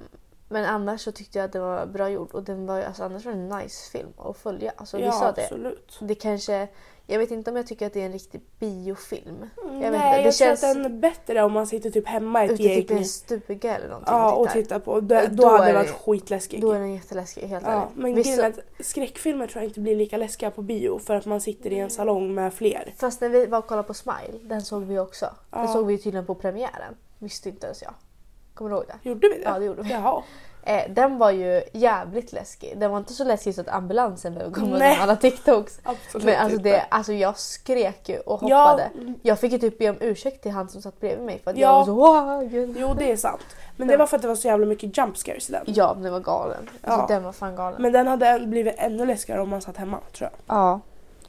[SPEAKER 1] men annars så tyckte jag att den var bra gjord och den var ju- alltså annars var det en nice film att följa. Alltså vi
[SPEAKER 2] ja
[SPEAKER 1] sa det.
[SPEAKER 2] absolut.
[SPEAKER 1] Det kanske, jag vet inte om jag tycker att det är en riktig biofilm. vet inte,
[SPEAKER 2] Nej
[SPEAKER 1] det
[SPEAKER 2] jag tror
[SPEAKER 1] känns-
[SPEAKER 2] att den är bättre om man sitter typ hemma i ett
[SPEAKER 1] Ute typ i
[SPEAKER 2] gäng.
[SPEAKER 1] en stuga eller någonting
[SPEAKER 2] Ja och
[SPEAKER 1] tittar.
[SPEAKER 2] tittar på. Då, då,
[SPEAKER 1] Då
[SPEAKER 2] hade
[SPEAKER 1] är
[SPEAKER 2] den varit
[SPEAKER 1] det-
[SPEAKER 2] skitläskig.
[SPEAKER 1] Då är den jätteläskig, helt
[SPEAKER 2] Ja,
[SPEAKER 1] ärligt.
[SPEAKER 2] men
[SPEAKER 1] Vi
[SPEAKER 2] grejen
[SPEAKER 1] så-
[SPEAKER 2] är att skräckfilmer tror jag inte blir lika läskiga på bio för att man sitter i en salong med fler.
[SPEAKER 1] Fast när vi var och kollade på Smile, den såg vi också. Den
[SPEAKER 2] Ja.
[SPEAKER 1] såg vi ju tydligen på premiären. Visste inte ens jag. Kommer du ihåg det?
[SPEAKER 2] Gjorde vi det?
[SPEAKER 1] Ja, det gjorde vi.
[SPEAKER 2] Jaha.
[SPEAKER 1] Eh, den var ju jävligt läskig. Den var inte så läskig så att ambulansen behövde komma
[SPEAKER 2] Nej.
[SPEAKER 1] med alla TikToks.
[SPEAKER 2] Absolut
[SPEAKER 1] Men alltså,
[SPEAKER 2] inte.
[SPEAKER 1] det, alltså jag skrek ju och
[SPEAKER 2] ja, mm,
[SPEAKER 1] hoppade. Jag fick ju typ be om ursäkt till han som satt bredvid mig för att
[SPEAKER 2] Ja.
[SPEAKER 1] jag var så wow, gud.
[SPEAKER 2] Jo, det är sant. Men det var för att det var så jävla mycket jump scares i den.
[SPEAKER 1] Ja, men den var galen. Alltså
[SPEAKER 2] Ja.
[SPEAKER 1] den var fan galen.
[SPEAKER 2] Men den hade än- blivit ännu läskigare om man satt hemma tror jag.
[SPEAKER 1] ja.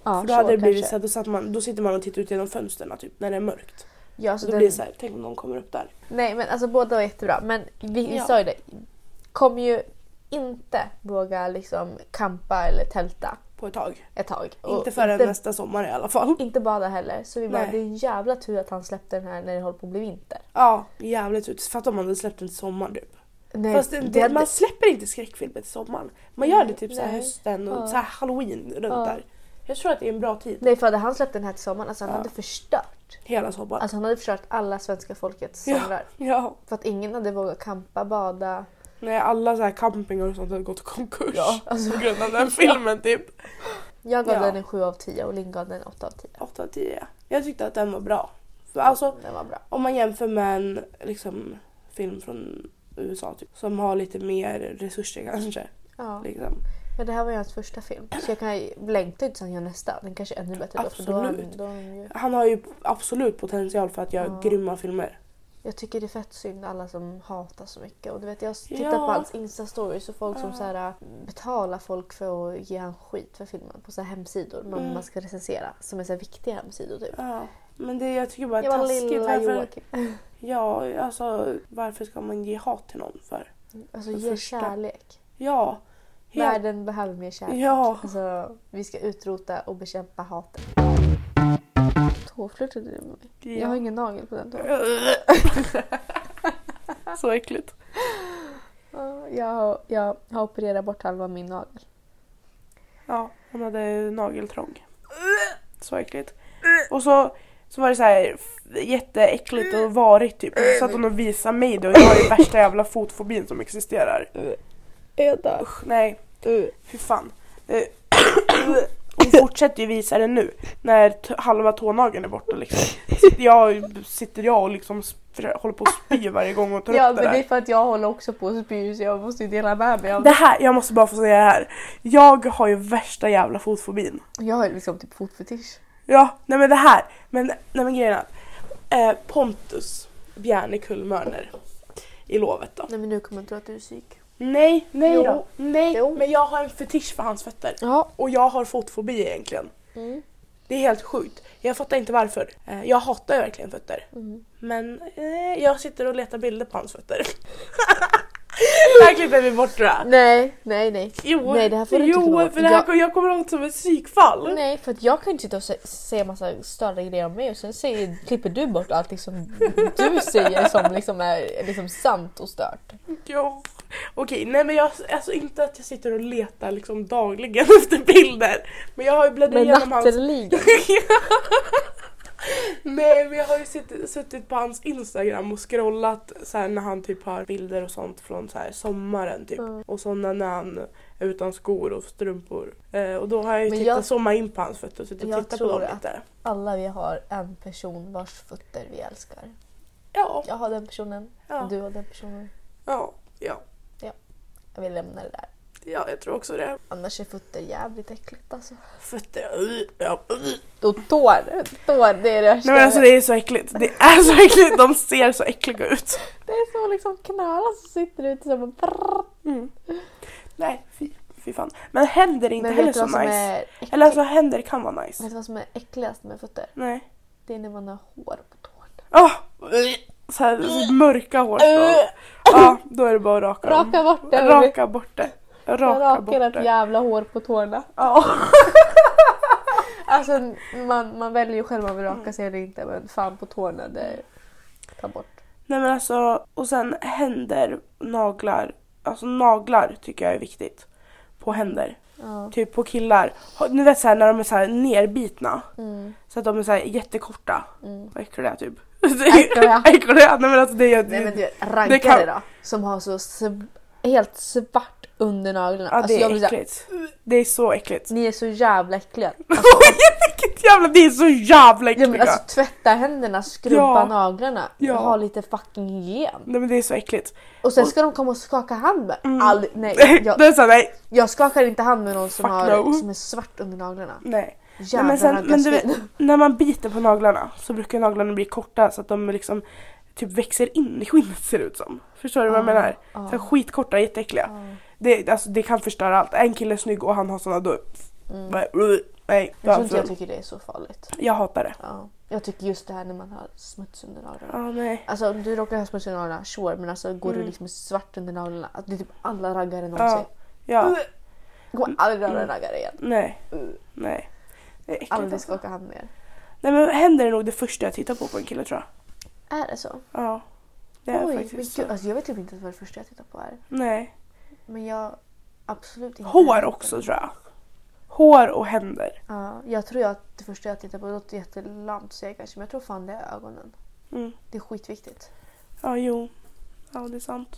[SPEAKER 1] Ja,
[SPEAKER 2] för då
[SPEAKER 1] så
[SPEAKER 2] hade det blivit
[SPEAKER 1] kanske.
[SPEAKER 2] så här, då, satt man, då sitter man och tittar ut genom fönstren typ när det är mörkt.
[SPEAKER 1] Ja, så
[SPEAKER 2] Så då
[SPEAKER 1] den,
[SPEAKER 2] blir det så här, tänk om någon kommer upp där.
[SPEAKER 1] Nej men alltså båda var jättebra. Men vi, vi
[SPEAKER 2] Ja.
[SPEAKER 1] sa ju det. Kom ju inte våga liksom kampa eller tälta
[SPEAKER 2] På ett tag.
[SPEAKER 1] ett tag.
[SPEAKER 2] inte förrän
[SPEAKER 1] inte,
[SPEAKER 2] nästa sommar i alla fall.
[SPEAKER 1] inte bada heller. Så vi bara,
[SPEAKER 2] Nej.
[SPEAKER 1] det är en jävla tur att han släppte den här när det håller på att bli vinter.
[SPEAKER 2] Ja, jävligt ut. Fatta om man hade släppt den till sommaren typ.
[SPEAKER 1] Nej,
[SPEAKER 2] Fast det,
[SPEAKER 1] hade-
[SPEAKER 2] man släpper inte skräckfilmer till sommaren. Man gör det typ så här
[SPEAKER 1] Nej.
[SPEAKER 2] hösten och
[SPEAKER 1] Ja.
[SPEAKER 2] så här halloween runt
[SPEAKER 1] Ja.
[SPEAKER 2] där. Jag tror att det är en bra tid.
[SPEAKER 1] nej för hade han släppt den här till sommaren, alltså han
[SPEAKER 2] Ja.
[SPEAKER 1] hade förstört.
[SPEAKER 2] Hela sommaren.
[SPEAKER 1] Alltså han hade förstört alla svenska folkets
[SPEAKER 2] Ja.
[SPEAKER 1] somrar.
[SPEAKER 2] ja.
[SPEAKER 1] För att ingen hade vågat kampa, bada.
[SPEAKER 2] Nej, alla så här campingar och sånt har gått i konkurs.
[SPEAKER 1] Ja, alltså-
[SPEAKER 2] På grund av den filmen typ.
[SPEAKER 1] Jag gav
[SPEAKER 2] Ja.
[SPEAKER 1] den en 7 av 10 och Linn gav den en 8 av 10.
[SPEAKER 2] 8 av 10. Jag tyckte att den var bra. För alltså
[SPEAKER 1] Den var bra.
[SPEAKER 2] om man jämför med en liksom, film från USA typ. Som har lite mer resurser kanske.
[SPEAKER 1] Ja.
[SPEAKER 2] Liksom.
[SPEAKER 1] Ja, det här var ju hans första film. Så jag kan längta inte sen jag gör nästa. Den kanske är ännu bättre då. För då har han,
[SPEAKER 2] Absolut.
[SPEAKER 1] då har han ju...
[SPEAKER 2] Han har ju absolut potential för att göra
[SPEAKER 1] Ja.
[SPEAKER 2] grymma filmer.
[SPEAKER 1] Jag tycker det är fett synd alla som hatar så mycket. Och du vet, jag tittar
[SPEAKER 2] Ja.
[SPEAKER 1] på hans Insta-stories och folk som
[SPEAKER 2] Ja.
[SPEAKER 1] så här, äh, betalar folk för att ge han skit för filmen på så här hemsidor man,
[SPEAKER 2] Mm.
[SPEAKER 1] man ska recensera. Som är så här viktiga hemsidor typ.
[SPEAKER 2] Ja. Men det, jag tycker bara
[SPEAKER 1] Jag var
[SPEAKER 2] taskigt.
[SPEAKER 1] lilla
[SPEAKER 2] Varför,
[SPEAKER 1] Joakim.
[SPEAKER 2] Ja, alltså varför ska man ge hat till någon för?
[SPEAKER 1] Alltså
[SPEAKER 2] för
[SPEAKER 1] ge
[SPEAKER 2] första.
[SPEAKER 1] kärlek.
[SPEAKER 2] Ja. Helt,
[SPEAKER 1] Världen behöver mer kärlek.
[SPEAKER 2] ja.
[SPEAKER 1] Alltså, vi ska utrota och bekämpa hatet. Tåflörtade du med mig? Jag har ingen nagel på den tån.
[SPEAKER 2] Så äckligt.
[SPEAKER 1] Ja, Jag, jag har opererat bort halva min nagel.
[SPEAKER 2] Ja, hon hade nageltrång. Så äckligt. Och så, så var det så här f- jätteäckligt och varigt typ. Och så satt hon och visade mig det och jag har ju värsta jävla fotfobin som existerar.
[SPEAKER 1] Öda.
[SPEAKER 2] Usch, nej. Fy fan. Eh, Hon fortsätter ju visa det nu när t- halva tånageln är borta liksom. Sitter Jag, sitter jag och liksom s- försöker- håller på att spy varje gång och tar
[SPEAKER 1] Ja
[SPEAKER 2] upp det
[SPEAKER 1] men det är
[SPEAKER 2] där.
[SPEAKER 1] för att jag håller också på att spy så jag måste ju dela med mig av
[SPEAKER 2] Det
[SPEAKER 1] det.
[SPEAKER 2] här, jag måste bara få säga det här. Jag har ju värsta jävla fotfobin.
[SPEAKER 1] Jag har liksom typ fotfetisch.
[SPEAKER 2] Ja, nej men det här. Men, nej men grejen är att, eh, Pontus Bjärne Kullmörner i lovet då.
[SPEAKER 1] Nej men nu kommer jag tro att du är psyk.
[SPEAKER 2] Nej, nej
[SPEAKER 1] Jo.
[SPEAKER 2] då. Nej,
[SPEAKER 1] Jo.
[SPEAKER 2] men jag har en fetisch för hans fötter.
[SPEAKER 1] Ja.
[SPEAKER 2] Och jag har fotfobi egentligen.
[SPEAKER 1] Mm.
[SPEAKER 2] Det är helt sjukt. Jag fattar inte varför. Eh, Jag hatar ju verkligen fötter.
[SPEAKER 1] Mm.
[SPEAKER 2] Men eh, jag sitter och letar bilder på hans fötter. här klipper vi bort det där.
[SPEAKER 1] Nej, nej, nej.
[SPEAKER 2] Jo,
[SPEAKER 1] Nej, det här får du inte komma
[SPEAKER 2] jo
[SPEAKER 1] åt.
[SPEAKER 2] för det här,
[SPEAKER 1] Jag-
[SPEAKER 2] jag... jag kommer ihåg som ett psykfall.
[SPEAKER 1] Nej, för att jag kan ju inte sitta och sä- säga massa större grejer om mig och sen säger, klipper du bort allting som du säger som liksom är liksom sant och stört.
[SPEAKER 2] Ja. Okej, nej men jag, alltså inte att jag sitter och letar liksom dagligen efter bilder. Men jag har ju bläddrat
[SPEAKER 1] Men
[SPEAKER 2] igenom hans...
[SPEAKER 1] natteligen.
[SPEAKER 2] Nej men jag har ju suttit, suttit på hans instagram och scrollat så här, när han typ har bilder och sånt från så här, sommaren typ.
[SPEAKER 1] Mm.
[SPEAKER 2] Och sådana när han är utan skor och strumpor. Eh, och då har jag ju
[SPEAKER 1] Men
[SPEAKER 2] tittat,
[SPEAKER 1] jag-
[SPEAKER 2] zoomat in på hans fötter och suttit
[SPEAKER 1] Jag
[SPEAKER 2] och tittat på
[SPEAKER 1] tror
[SPEAKER 2] dem
[SPEAKER 1] att-
[SPEAKER 2] lite.
[SPEAKER 1] Alla vi har en person vars fötter vi älskar.
[SPEAKER 2] Ja,
[SPEAKER 1] Jag har den personen,
[SPEAKER 2] ja,
[SPEAKER 1] du har den personen.
[SPEAKER 2] ja, ja,
[SPEAKER 1] Jag vill lämna det där.
[SPEAKER 2] ja, jag tror också det.
[SPEAKER 1] Annars är fötter jävligt äckligt alltså.
[SPEAKER 2] Fötter, uh, ja, uh.
[SPEAKER 1] Då tår, tår det är det värsta.
[SPEAKER 2] Nej men alltså det är så äckligt. Det är så äckligt, de ser så äckliga ut.
[SPEAKER 1] Det är så liksom knölar som sitter ute som en prrr.
[SPEAKER 2] Mm. Nej, fy, fy fan. Men händer är inte
[SPEAKER 1] Men
[SPEAKER 2] heller
[SPEAKER 1] vet du
[SPEAKER 2] så
[SPEAKER 1] vad som
[SPEAKER 2] nice.
[SPEAKER 1] är Mm. äckligt?
[SPEAKER 2] Eller alltså händer kan vara nice.
[SPEAKER 1] Vet du vad som är äckligast med fötter?
[SPEAKER 2] Nej.
[SPEAKER 1] Det är när man har hår på tårna.
[SPEAKER 2] Åh! Så här så mörka hår. Ja, då är det bara att raka dem.
[SPEAKER 1] Mm. Raka bort det! hörni.
[SPEAKER 2] Raka bort det.
[SPEAKER 1] Jag
[SPEAKER 2] Raka bort
[SPEAKER 1] rakar ett
[SPEAKER 2] det.
[SPEAKER 1] jävla hår på tårna.
[SPEAKER 2] Ja.
[SPEAKER 1] Alltså man, man väljer ju själv om man vill raka sig eller inte men fan på tårna det ta bort.
[SPEAKER 2] Nej men alltså, och sen händer, naglar. Alltså naglar tycker jag är viktigt. På händer.
[SPEAKER 1] Ja.
[SPEAKER 2] Typ på killar. Ni vet såhär när de är såhär nerbitna.
[SPEAKER 1] Mm,
[SPEAKER 2] Så att de är såhär jättekorta.
[SPEAKER 1] mm.
[SPEAKER 2] Vad äckliga typ.
[SPEAKER 1] Äckliga.
[SPEAKER 2] Äckliga! Nej men alltså det är
[SPEAKER 1] Nej men du
[SPEAKER 2] det,
[SPEAKER 1] vet, rankare
[SPEAKER 2] det kan-
[SPEAKER 1] då som har så sv- helt svart under naglarna. Alltså,
[SPEAKER 2] ja, alltså,
[SPEAKER 1] jag
[SPEAKER 2] det är
[SPEAKER 1] blir så här,
[SPEAKER 2] äckligt. Det är så äckligt.
[SPEAKER 1] ni är så jävla äckliga.
[SPEAKER 2] Vilket jävla, det är så jävla
[SPEAKER 1] Ja,
[SPEAKER 2] äckliga!
[SPEAKER 1] men alltså tvätta händerna, skrubba
[SPEAKER 2] Ja.
[SPEAKER 1] naglarna,
[SPEAKER 2] Ja.
[SPEAKER 1] ha lite fucking hygien.
[SPEAKER 2] Nej men det är så äckligt.
[SPEAKER 1] Och sen ska de komma och skaka hand med.
[SPEAKER 2] Mm.
[SPEAKER 1] Aldrig, nej, jag,
[SPEAKER 2] det är så här, nej,
[SPEAKER 1] jag skakar inte hand med någon som,
[SPEAKER 2] Fuck
[SPEAKER 1] har,
[SPEAKER 2] no.
[SPEAKER 1] som är svart under naglarna.
[SPEAKER 2] nej. nej
[SPEAKER 1] Jävlar
[SPEAKER 2] men sen, men du
[SPEAKER 1] raggarsvin.
[SPEAKER 2] vet, när man biter på naglarna så brukar naglarna bli korta så att de liksom typ växer in i skinnet ser det ut som. Förstår du vad jag
[SPEAKER 1] Ja,
[SPEAKER 2] menar?
[SPEAKER 1] ja,
[SPEAKER 2] Så här, skitkorta, jätteäckliga.
[SPEAKER 1] ja.
[SPEAKER 2] Det, alltså, det kan förstöra allt. En kille är snygg och han har såna då...
[SPEAKER 1] Mm.
[SPEAKER 2] bara, uh, Nej, då
[SPEAKER 1] Jag tror
[SPEAKER 2] är han
[SPEAKER 1] inte jag
[SPEAKER 2] ful.
[SPEAKER 1] tycker det är så farligt.
[SPEAKER 2] Jag hatar det.
[SPEAKER 1] Ja. Jag tycker just det här när man har smuts under naglarna.
[SPEAKER 2] Ja, nej.
[SPEAKER 1] Alltså om du råkar ha smuts under naglarna, sure. Men alltså går du
[SPEAKER 2] Mm.
[SPEAKER 1] liksom svart under naglarna, att det är typ alla raggare någonsin.
[SPEAKER 2] Ja. Ja.
[SPEAKER 1] Jag kommer aldrig röra en
[SPEAKER 2] Mm.
[SPEAKER 1] raggare igen.
[SPEAKER 2] Nej.
[SPEAKER 1] Uh.
[SPEAKER 2] Nej. Det är äckligt
[SPEAKER 1] Aldrig
[SPEAKER 2] alltså.
[SPEAKER 1] skaka hand med er.
[SPEAKER 2] Nej men händer är nog det första jag tittar på på en kille tror
[SPEAKER 1] Är det så?
[SPEAKER 2] jag. Ja. Det är
[SPEAKER 1] Oj, men
[SPEAKER 2] faktiskt
[SPEAKER 1] gud,
[SPEAKER 2] så.
[SPEAKER 1] alltså, jag vet typ inte vad det första jag tittar på är.
[SPEAKER 2] Nej.
[SPEAKER 1] Men jag absolut inte.
[SPEAKER 2] Hår också tror jag. Hår och händer.
[SPEAKER 1] Ja, jag tror att det första jag tittar på låter jättelamt att säga kanske, men jag tror fan det är ögonen.
[SPEAKER 2] Mm.
[SPEAKER 1] Det är skitviktigt.
[SPEAKER 2] Ja, jo. Ja, det är sant.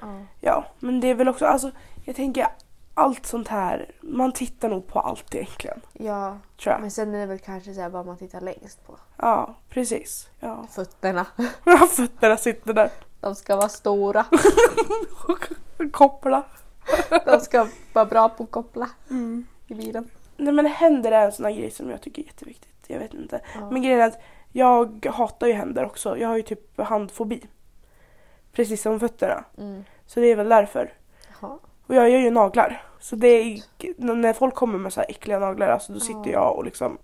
[SPEAKER 1] Ja.
[SPEAKER 2] Ja, men det är väl också, alltså jag tänker allt sånt här, man tittar nog på allt egentligen.
[SPEAKER 1] ja,
[SPEAKER 2] Tror jag.
[SPEAKER 1] men sen är det väl kanske så här vad man tittar längst på.
[SPEAKER 2] Ja, precis. Ja.
[SPEAKER 1] Fötterna.
[SPEAKER 2] Fötterna sitter där
[SPEAKER 1] De ska vara stora.
[SPEAKER 2] och kopplar.
[SPEAKER 1] De ska vara bra på att koppla
[SPEAKER 2] Mm.
[SPEAKER 1] i bilen.
[SPEAKER 2] Nej men händer är en sån här grej som jag tycker är jätteviktigt. Jag vet inte.
[SPEAKER 1] Ja.
[SPEAKER 2] Men grejen är att jag hatar ju händer också. Jag har ju typ handfobi. Precis som fötterna.
[SPEAKER 1] Mm.
[SPEAKER 2] Så det är väl därför.
[SPEAKER 1] Jaha.
[SPEAKER 2] Och jag gör ju naglar. Så det är, när folk kommer med så här äckliga naglar, alltså då
[SPEAKER 1] Ja.
[SPEAKER 2] sitter jag och liksom...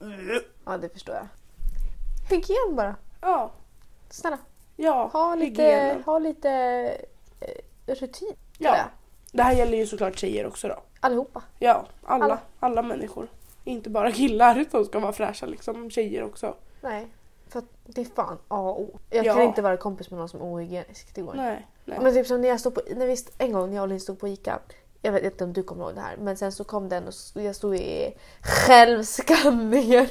[SPEAKER 1] Ja, det förstår jag. Hygien bara.
[SPEAKER 2] Ja,
[SPEAKER 1] Snälla,
[SPEAKER 2] ja.
[SPEAKER 1] ha lite,
[SPEAKER 2] hygienen.
[SPEAKER 1] ha lite eh, rutin. tror
[SPEAKER 2] Ja.
[SPEAKER 1] jag.
[SPEAKER 2] Det här gäller ju såklart tjejer också då.
[SPEAKER 1] Allihopa.
[SPEAKER 2] Ja, alla,
[SPEAKER 1] Alla.
[SPEAKER 2] alla. människor. Inte bara killar, utan ska vara fräscha liksom. Tjejer också.
[SPEAKER 1] Nej, för att det är fan A och O. Jag
[SPEAKER 2] Ja.
[SPEAKER 1] kan inte vara kompis med någon som är ohygienisk. Det går inte.
[SPEAKER 2] Nej, nej.
[SPEAKER 1] Men typ som när jag stod på, när vi, en gång när jag och Linn stod på ICA. Jag vet inte om du kommer ihåg det här men sen så kom den och s- jag stod i självskanningen.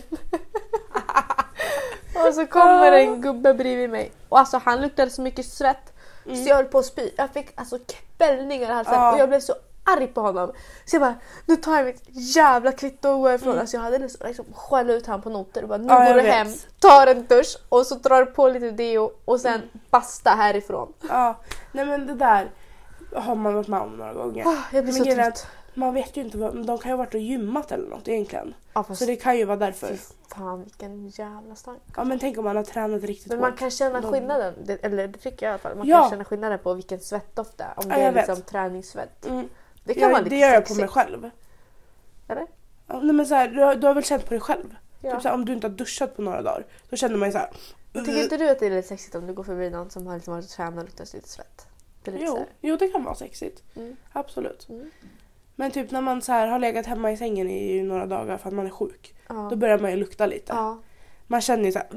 [SPEAKER 1] och så kommer en gubbe bredvid mig och alltså han luktade så mycket svett
[SPEAKER 2] Mm.
[SPEAKER 1] så jag höll på att spy. Jag fick alltså kvällningar i halsen
[SPEAKER 2] Ja.
[SPEAKER 1] och jag blev så arg på honom. Så jag bara, nu tar jag mitt jävla kvitto och går ifrån. Alltså jag hade nästan liksom skällt ut honom på noter och bara, nu
[SPEAKER 2] Mm. Ja, jag
[SPEAKER 1] går du
[SPEAKER 2] vet.
[SPEAKER 1] hem, tar en dusch och så drar du på lite deo och sen
[SPEAKER 2] Mm.
[SPEAKER 1] basta härifrån.
[SPEAKER 2] Ja, nej men det där har man varit med om några gånger.
[SPEAKER 1] Ah, jag blir
[SPEAKER 2] Men
[SPEAKER 1] så
[SPEAKER 2] grejen är
[SPEAKER 1] trött.
[SPEAKER 2] att man vet ju inte, vad, men de kan ju ha varit och gymmat eller något egentligen.
[SPEAKER 1] Ja, fast,
[SPEAKER 2] Så det kan ju vara därför.
[SPEAKER 1] fy fan vilken jävla stank.
[SPEAKER 2] Ja men tänk om man har tränat riktigt
[SPEAKER 1] Men man
[SPEAKER 2] hårt.
[SPEAKER 1] kan känna
[SPEAKER 2] De-
[SPEAKER 1] skillnaden, det- eller det tycker jag i alla fall. Man
[SPEAKER 2] Ja.
[SPEAKER 1] kan känna skillnaden på vilken svettdoft det är. Om
[SPEAKER 2] Ja,
[SPEAKER 1] det är
[SPEAKER 2] jag vet.
[SPEAKER 1] liksom träningssvett.
[SPEAKER 2] Mm.
[SPEAKER 1] Det
[SPEAKER 2] Det,
[SPEAKER 1] kan vara
[SPEAKER 2] jag,
[SPEAKER 1] lite
[SPEAKER 2] det gör jag på
[SPEAKER 1] sexigt,
[SPEAKER 2] mig själv.
[SPEAKER 1] Eller?
[SPEAKER 2] Ja, nej men så här, du, har, du har väl känt på dig själv?
[SPEAKER 1] Ja.
[SPEAKER 2] Typ så här, om du inte har duschat på några dagar. Då känner man ju så här.
[SPEAKER 1] Tycker inte du att det är lite sexigt om du går förbi någon som har liksom varit och tränat och luktar lite svett? Det är lite så
[SPEAKER 2] Jo,
[SPEAKER 1] här.
[SPEAKER 2] jo det kan vara sexigt.
[SPEAKER 1] Mm.
[SPEAKER 2] Absolut.
[SPEAKER 1] Mm.
[SPEAKER 2] Men typ när man så här, har legat hemma i sängen i några dagar för att man är sjuk.
[SPEAKER 1] Ja.
[SPEAKER 2] Då börjar man ju lukta lite.
[SPEAKER 1] ja. Mm.
[SPEAKER 2] Man känner ju såhär...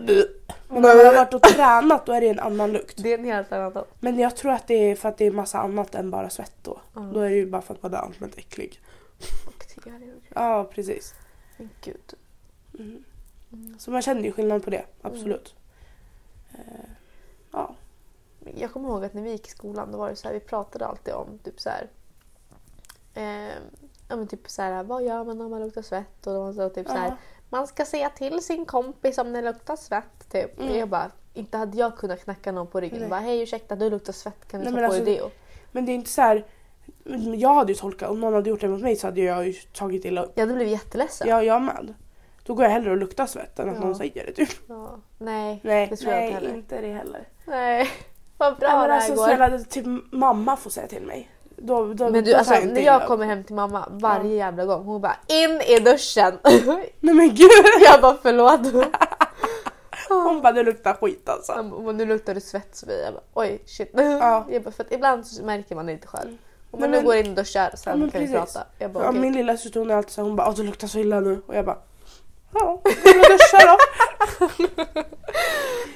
[SPEAKER 2] Men när man har varit och tränat då är det en annan lukt.
[SPEAKER 1] Det är en helt annan doft.
[SPEAKER 2] Men jag tror att det är för att det är massa annat än bara svett då.
[SPEAKER 1] Ja.
[SPEAKER 2] Då är det ju bara för att man är allmänt äcklig.
[SPEAKER 1] Bakterier och grejer.
[SPEAKER 2] Ja, precis.
[SPEAKER 1] Men gud.
[SPEAKER 2] Mm.
[SPEAKER 1] Mm.
[SPEAKER 2] Så man känner ju skillnad på det, absolut. Eh, Ja.
[SPEAKER 1] Jag kommer ihåg att när vi gick i skolan då var det så här, vi pratade alltid om typ så här. Eh, ja men typ så här, vad gör man om man luktar svett? Och de sa typ så här,
[SPEAKER 2] Ja.
[SPEAKER 1] man ska säga till sin kompis om det luktar svett. Typ.
[SPEAKER 2] Mm.
[SPEAKER 1] Jag bara, inte hade jag kunnat knacka någon på ryggen.
[SPEAKER 2] Nej.
[SPEAKER 1] Bara, hej ursäkta du luktar svett, kan du
[SPEAKER 2] Nej,
[SPEAKER 1] ta
[SPEAKER 2] men
[SPEAKER 1] på
[SPEAKER 2] alltså-
[SPEAKER 1] dig deo?
[SPEAKER 2] Men det är inte så här. Jag hade ju tolkat, om någon hade gjort det mot mig så hade jag ju tagit illa upp.
[SPEAKER 1] Jag hade blivit jätteledsen.
[SPEAKER 2] Ja, jag med. Då går jag hellre och luktar svett än att
[SPEAKER 1] Ja.
[SPEAKER 2] någon säger det typ.
[SPEAKER 1] Ja. Nej,
[SPEAKER 2] Nej,
[SPEAKER 1] det tror jag inte heller.
[SPEAKER 2] det heller.
[SPEAKER 1] Nej, vad bra
[SPEAKER 2] Nej, men
[SPEAKER 1] det här
[SPEAKER 2] alltså
[SPEAKER 1] går.
[SPEAKER 2] snälla, det- typ mamma får säga till mig. Då, då,
[SPEAKER 1] Men du,
[SPEAKER 2] då
[SPEAKER 1] alltså,
[SPEAKER 2] tar jag inte
[SPEAKER 1] när
[SPEAKER 2] illa
[SPEAKER 1] jag
[SPEAKER 2] upp.
[SPEAKER 1] kommer hem till mamma varje jävla gång, hon bara in i duschen.
[SPEAKER 2] Nej men gud!
[SPEAKER 1] jag bara förlåt.
[SPEAKER 2] Hon bara det luktar skit alltså.
[SPEAKER 1] Hon bara, nu luktar det svett Sofia. Jag bara oj shit.
[SPEAKER 2] Ja. Mm.
[SPEAKER 1] Jag bara, för att ibland så märker man det inte själv. Hon bara,
[SPEAKER 2] Nej,
[SPEAKER 1] nu
[SPEAKER 2] men-
[SPEAKER 1] går jag in och duschar sen
[SPEAKER 2] Ja, men
[SPEAKER 1] kan vi
[SPEAKER 2] precis.
[SPEAKER 1] prata. Jag bara
[SPEAKER 2] Ja,
[SPEAKER 1] okej.
[SPEAKER 2] min lilla syster hon är alltid så här, hon bara "Åh, det luktar så illa nu och jag bara ja, jag går och duschar då.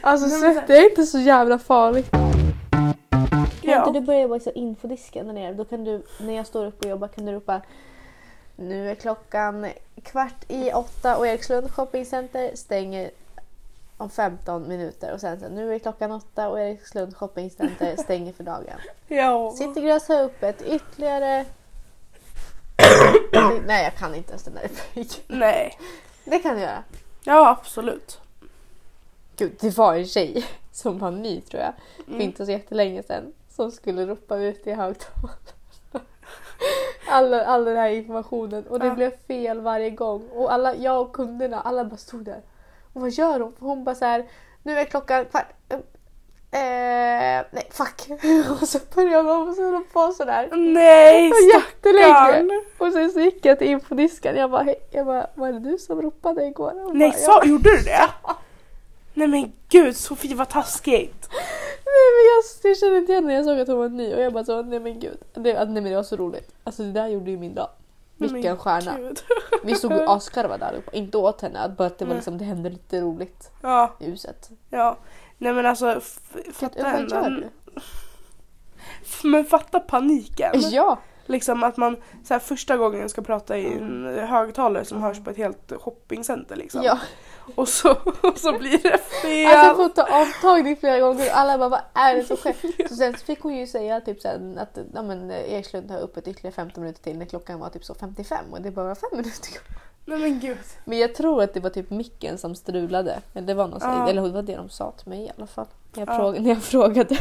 [SPEAKER 1] Alltså
[SPEAKER 2] Nej, men-
[SPEAKER 1] svett är inte så jävla farligt. Kan
[SPEAKER 2] Ja.
[SPEAKER 1] inte du börja jobba så infodisken där nere? Då kan du, när jag står upp och jobbar kan du ropa Nu är klockan kvart i åtta och Erikslund shoppingcenter stänger om 15 minuter och sen så nu är klockan åtta och Erikslund shoppingcenter stänger för dagen.
[SPEAKER 2] Ja.
[SPEAKER 1] Citygross har öppet ytterligare... Nej jag kan inte ens den där repliken.
[SPEAKER 2] Nej.
[SPEAKER 1] Det kan jag göra.
[SPEAKER 2] Ja absolut.
[SPEAKER 1] Gud, det var en tjej som var ny tror jag, för
[SPEAKER 2] Mm.
[SPEAKER 1] inte så jättelänge sedan, som skulle ropa ut i högtalaren. All, all den här informationen och det
[SPEAKER 2] Ja.
[SPEAKER 1] blev fel varje gång. Och alla, jag och kunderna, alla bara stod där. Och vad gör hon? För hon bara så här, nu är klockan kvart... eh, Eh, nej, fuck. Och så började hon och så höll hon på sådär.
[SPEAKER 2] Nej
[SPEAKER 1] Det var jättelänge.
[SPEAKER 2] stackarn.
[SPEAKER 1] Och sen så gick jag till infodisken. Jag bara, hej, jag bara, var det du som ropade igår? Hon
[SPEAKER 2] Nej
[SPEAKER 1] bara, "Ja."
[SPEAKER 2] så, gjorde du det? Nej men gud Sofie vad taskigt.
[SPEAKER 1] Nej men jag, jag kände inte igen när jag såg att hon var ny och jag bara så nej men gud. Det, att- nej men det var så roligt. Alltså det där gjorde ju min dag.
[SPEAKER 2] Nej, men
[SPEAKER 1] Vilken stjärna.
[SPEAKER 2] Gud.
[SPEAKER 1] Vi stod ju askarvade allihopa. Inte åt henne, bara att det, var
[SPEAKER 2] Nej.
[SPEAKER 1] liksom, det hände lite roligt
[SPEAKER 2] Ja,
[SPEAKER 1] i huset.
[SPEAKER 2] ja. Nej men alltså f-
[SPEAKER 1] Gud,
[SPEAKER 2] fatta
[SPEAKER 1] vad gör du?
[SPEAKER 2] ändå. Men fatta paniken.
[SPEAKER 1] Ja!
[SPEAKER 2] Liksom att man så här, första gången ska prata i en högtalare som
[SPEAKER 1] Mm.
[SPEAKER 2] hörs på ett helt shoppingcenter liksom.
[SPEAKER 1] ja.
[SPEAKER 2] Och, så, och så blir det fel.
[SPEAKER 1] Alltså jag får ta avtagning flera gånger och alla bara vad är det som sker? Så sen så fick hon ju säga typ sen att ja, men, eh, Erikslund har öppet ytterligare 15 minuter till när klockan var typ så 55 och det bara var 5 minuter kvar.
[SPEAKER 2] Nej men gud.
[SPEAKER 1] Men jag tror att det var typ micken som strulade. Eller det var, någon,
[SPEAKER 2] Ja.
[SPEAKER 1] eller det var det de sa till mig i alla fall. När jag,
[SPEAKER 2] Ja.
[SPEAKER 1] frågade, när jag frågade.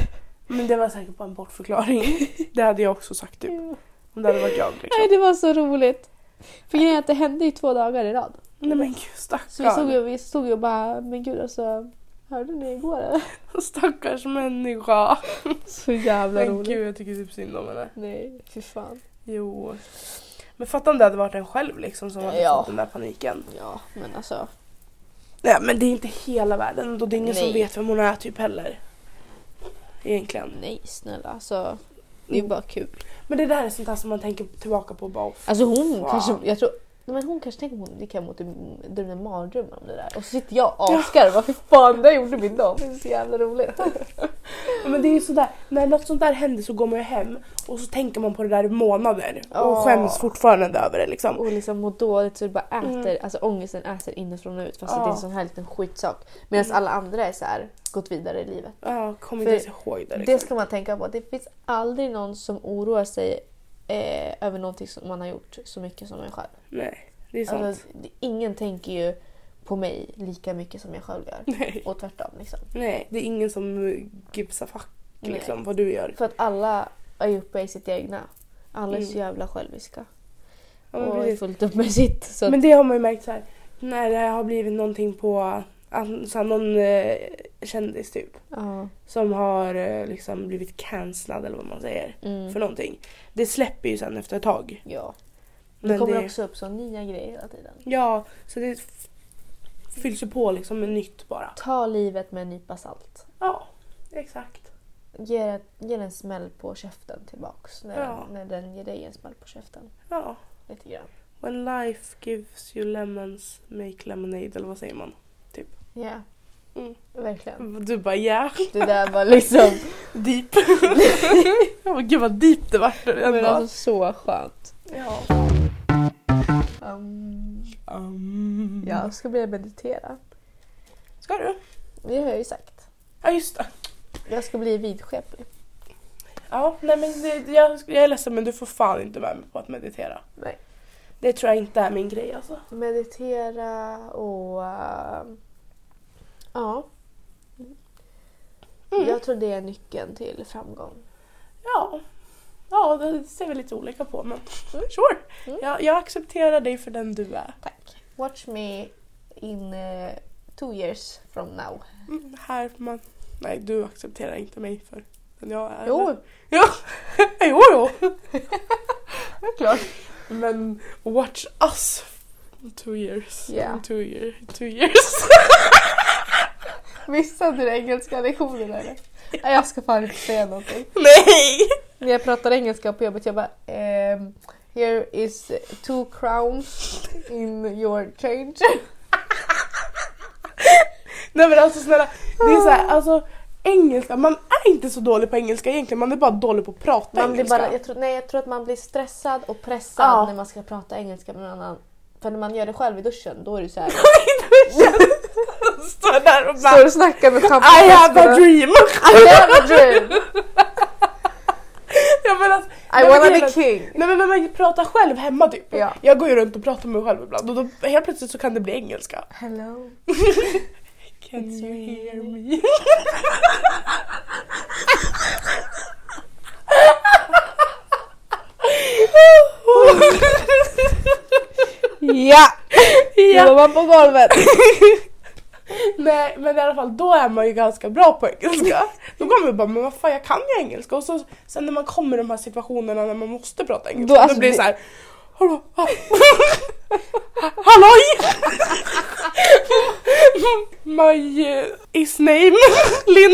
[SPEAKER 2] Men det var säkert bara en bortförklaring. Det hade jag också sagt typ.
[SPEAKER 1] liksom.
[SPEAKER 2] Om det hade varit jag liksom.
[SPEAKER 1] Nej, det var så roligt. För grejen är att det hände ju två dagar i rad.
[SPEAKER 2] Nej men gud
[SPEAKER 1] Så vi
[SPEAKER 2] stackars.
[SPEAKER 1] stod ju, vi stod ju och bara, men gud alltså. Hörde ni igår eller?
[SPEAKER 2] Stackars människa.
[SPEAKER 1] Så jävla
[SPEAKER 2] Men
[SPEAKER 1] roligt.
[SPEAKER 2] gud jag tycker typ synd om henne.
[SPEAKER 1] Nej, fy fan.
[SPEAKER 2] Jo. Men fatta om det hade varit en själv liksom som hade
[SPEAKER 1] Ja.
[SPEAKER 2] fått den där paniken.
[SPEAKER 1] Ja, men alltså.
[SPEAKER 2] Nej men det är inte hela världen och då det är ingen
[SPEAKER 1] Nej.
[SPEAKER 2] som vet vem hon är typ heller. Egentligen.
[SPEAKER 1] Nej snälla alltså. Det är ju bara kul.
[SPEAKER 2] Men det där är sånt där som man tänker tillbaka på och bara "Fy
[SPEAKER 1] Alltså hon
[SPEAKER 2] fan."
[SPEAKER 1] kanske, jag tror, men hon kanske tänker hon, det kan mot drömma mardrömmar om det där. Och så sitter jag och asgarvar, fy fan det här gjorde min dag. Det är så jävla roligt.
[SPEAKER 2] Men det är ju sådär, när något sånt där händer så går man ju hem och så tänker man på det där i månader och
[SPEAKER 1] Ja.
[SPEAKER 2] skäms fortfarande över det liksom.
[SPEAKER 1] och liksom mår dåligt så det bara äter,
[SPEAKER 2] Mm.
[SPEAKER 1] alltså ångesten äter inifrån och ut fast
[SPEAKER 2] Ja.
[SPEAKER 1] det är en sån här liten skitsak. Medan alla andra är så här gått vidare i livet.
[SPEAKER 2] Ja, kommer
[SPEAKER 1] För
[SPEAKER 2] inte ens ihåg det. Liksom.
[SPEAKER 1] Det ska man tänka på, det finns aldrig någon som oroar sig eh, över någonting som man har gjort så mycket som jag själv.
[SPEAKER 2] Nej, det är sant.
[SPEAKER 1] Alltså, det- ingen tänker ju på mig lika mycket som jag själv gör.
[SPEAKER 2] nej.
[SPEAKER 1] Och tvärtom liksom.
[SPEAKER 2] nej, det är ingen som gives a fuck
[SPEAKER 1] Nej.
[SPEAKER 2] liksom, vad du gör.
[SPEAKER 1] För att alla är uppe i sitt egna. Alla är så
[SPEAKER 2] Mm.
[SPEAKER 1] jävla själviska.
[SPEAKER 2] Ja, men
[SPEAKER 1] och är
[SPEAKER 2] precis.
[SPEAKER 1] fullt upp med sitt. Så att,
[SPEAKER 2] Men det har man ju märkt så här, när det har blivit någonting på an- så här, någon eh, kändis typ
[SPEAKER 1] ja,
[SPEAKER 2] som har eh, liksom blivit cancellad eller vad man säger
[SPEAKER 1] mm,
[SPEAKER 2] för någonting. Det släpper ju sen efter ett tag.
[SPEAKER 1] ja.
[SPEAKER 2] Men
[SPEAKER 1] Det kommer
[SPEAKER 2] det-
[SPEAKER 1] också upp så nya grejer hela tiden.
[SPEAKER 2] Ja, så det f- fylls ju på liksom med nytt bara.
[SPEAKER 1] Ta livet med en nypa salt.
[SPEAKER 2] Ja, exakt.
[SPEAKER 1] Ge, ett- ge den en smäll på käften tillbaks. När,
[SPEAKER 2] Ja.
[SPEAKER 1] den, när den ger dig en smäll på käften.
[SPEAKER 2] Ja.
[SPEAKER 1] Lite grann.
[SPEAKER 2] When life gives you lemons, make lemonade eller vad säger man?
[SPEAKER 1] Ja.
[SPEAKER 2] Mm.
[SPEAKER 1] Verkligen.
[SPEAKER 2] Du bara yeah,
[SPEAKER 1] Det där var liksom...
[SPEAKER 2] deep. oh, gud vad deep det vart.
[SPEAKER 1] men
[SPEAKER 2] ändå.
[SPEAKER 1] alltså så skönt.
[SPEAKER 2] Ja.
[SPEAKER 1] Um,
[SPEAKER 2] Um,
[SPEAKER 1] jag ska börja meditera.
[SPEAKER 2] Ska du?
[SPEAKER 1] Det har jag ju sagt.
[SPEAKER 2] Ja just det.
[SPEAKER 1] Jag ska bli vidskeplig.
[SPEAKER 2] Ja, nej men det, jag, jag är ledsen men du får fan inte vara med på att meditera.
[SPEAKER 1] Nej.
[SPEAKER 2] Det tror jag inte är min grej alltså.
[SPEAKER 1] Meditera och... eh, ja.
[SPEAKER 2] Mm.
[SPEAKER 1] Jag tror det är nyckeln till framgång.
[SPEAKER 2] Ja. Ja, det ser vi lite olika på men sure.
[SPEAKER 1] Mm.
[SPEAKER 2] Jag, jag accepterar dig för den du är.
[SPEAKER 1] Tack. Watch me in eh, two years from now.
[SPEAKER 2] Mm, här får man... Nej, du accepterar inte mig för den jag är.
[SPEAKER 1] Jo,
[SPEAKER 2] Eh, jo, jo.
[SPEAKER 1] det är klart.
[SPEAKER 2] Men watch us. Two years.
[SPEAKER 1] Ja.
[SPEAKER 2] Two, year, two years.
[SPEAKER 1] Missade du engelska lektionen eller? Nej, jag ska fan inte säga någonting.
[SPEAKER 2] Nej!
[SPEAKER 1] När jag pratar engelska på jobbet jag bara ehm, Here is two crowns in your change.
[SPEAKER 2] Nej men alltså snälla, det är så här, alltså engelska, man är inte så dålig på engelska egentligen, man är bara dålig på att prata
[SPEAKER 1] Man blir
[SPEAKER 2] engelska.
[SPEAKER 1] bara, jag, tror, nej, jag tror att man blir stressad och pressad
[SPEAKER 2] Ja.
[SPEAKER 1] när man ska prata engelska med någon annan. För när man gör det själv i duschen då är det så här.
[SPEAKER 2] Står där och
[SPEAKER 1] Står
[SPEAKER 2] bara
[SPEAKER 1] och snackar med
[SPEAKER 2] I have a
[SPEAKER 1] champagneflaskorna.
[SPEAKER 2] dream!
[SPEAKER 1] I have a dream!
[SPEAKER 2] ja, men alltså,
[SPEAKER 1] I
[SPEAKER 2] Nej, men
[SPEAKER 1] wanna
[SPEAKER 2] hela-
[SPEAKER 1] be king!
[SPEAKER 2] nej men när man pratar själv hemma typ.
[SPEAKER 1] Ja.
[SPEAKER 2] Jag går ju runt och pratar med mig själv ibland och då helt plötsligt så kan det bli engelska.
[SPEAKER 1] Hello.
[SPEAKER 2] Can
[SPEAKER 1] It's
[SPEAKER 2] you
[SPEAKER 1] me.
[SPEAKER 2] hear me?
[SPEAKER 1] Ja!
[SPEAKER 2] Ja.
[SPEAKER 1] Nu var man på golvet.
[SPEAKER 2] Nej men i alla fall då är man ju ganska bra på engelska. Då går man ju bara men vad fan jag kan ju engelska och så, sen när man kommer i de här situationerna när man måste prata engelska
[SPEAKER 1] Då,
[SPEAKER 2] då,
[SPEAKER 1] alltså,
[SPEAKER 2] blir det
[SPEAKER 1] det-
[SPEAKER 2] så här. Hallå! ha- Halloj! My eh, is name Linn.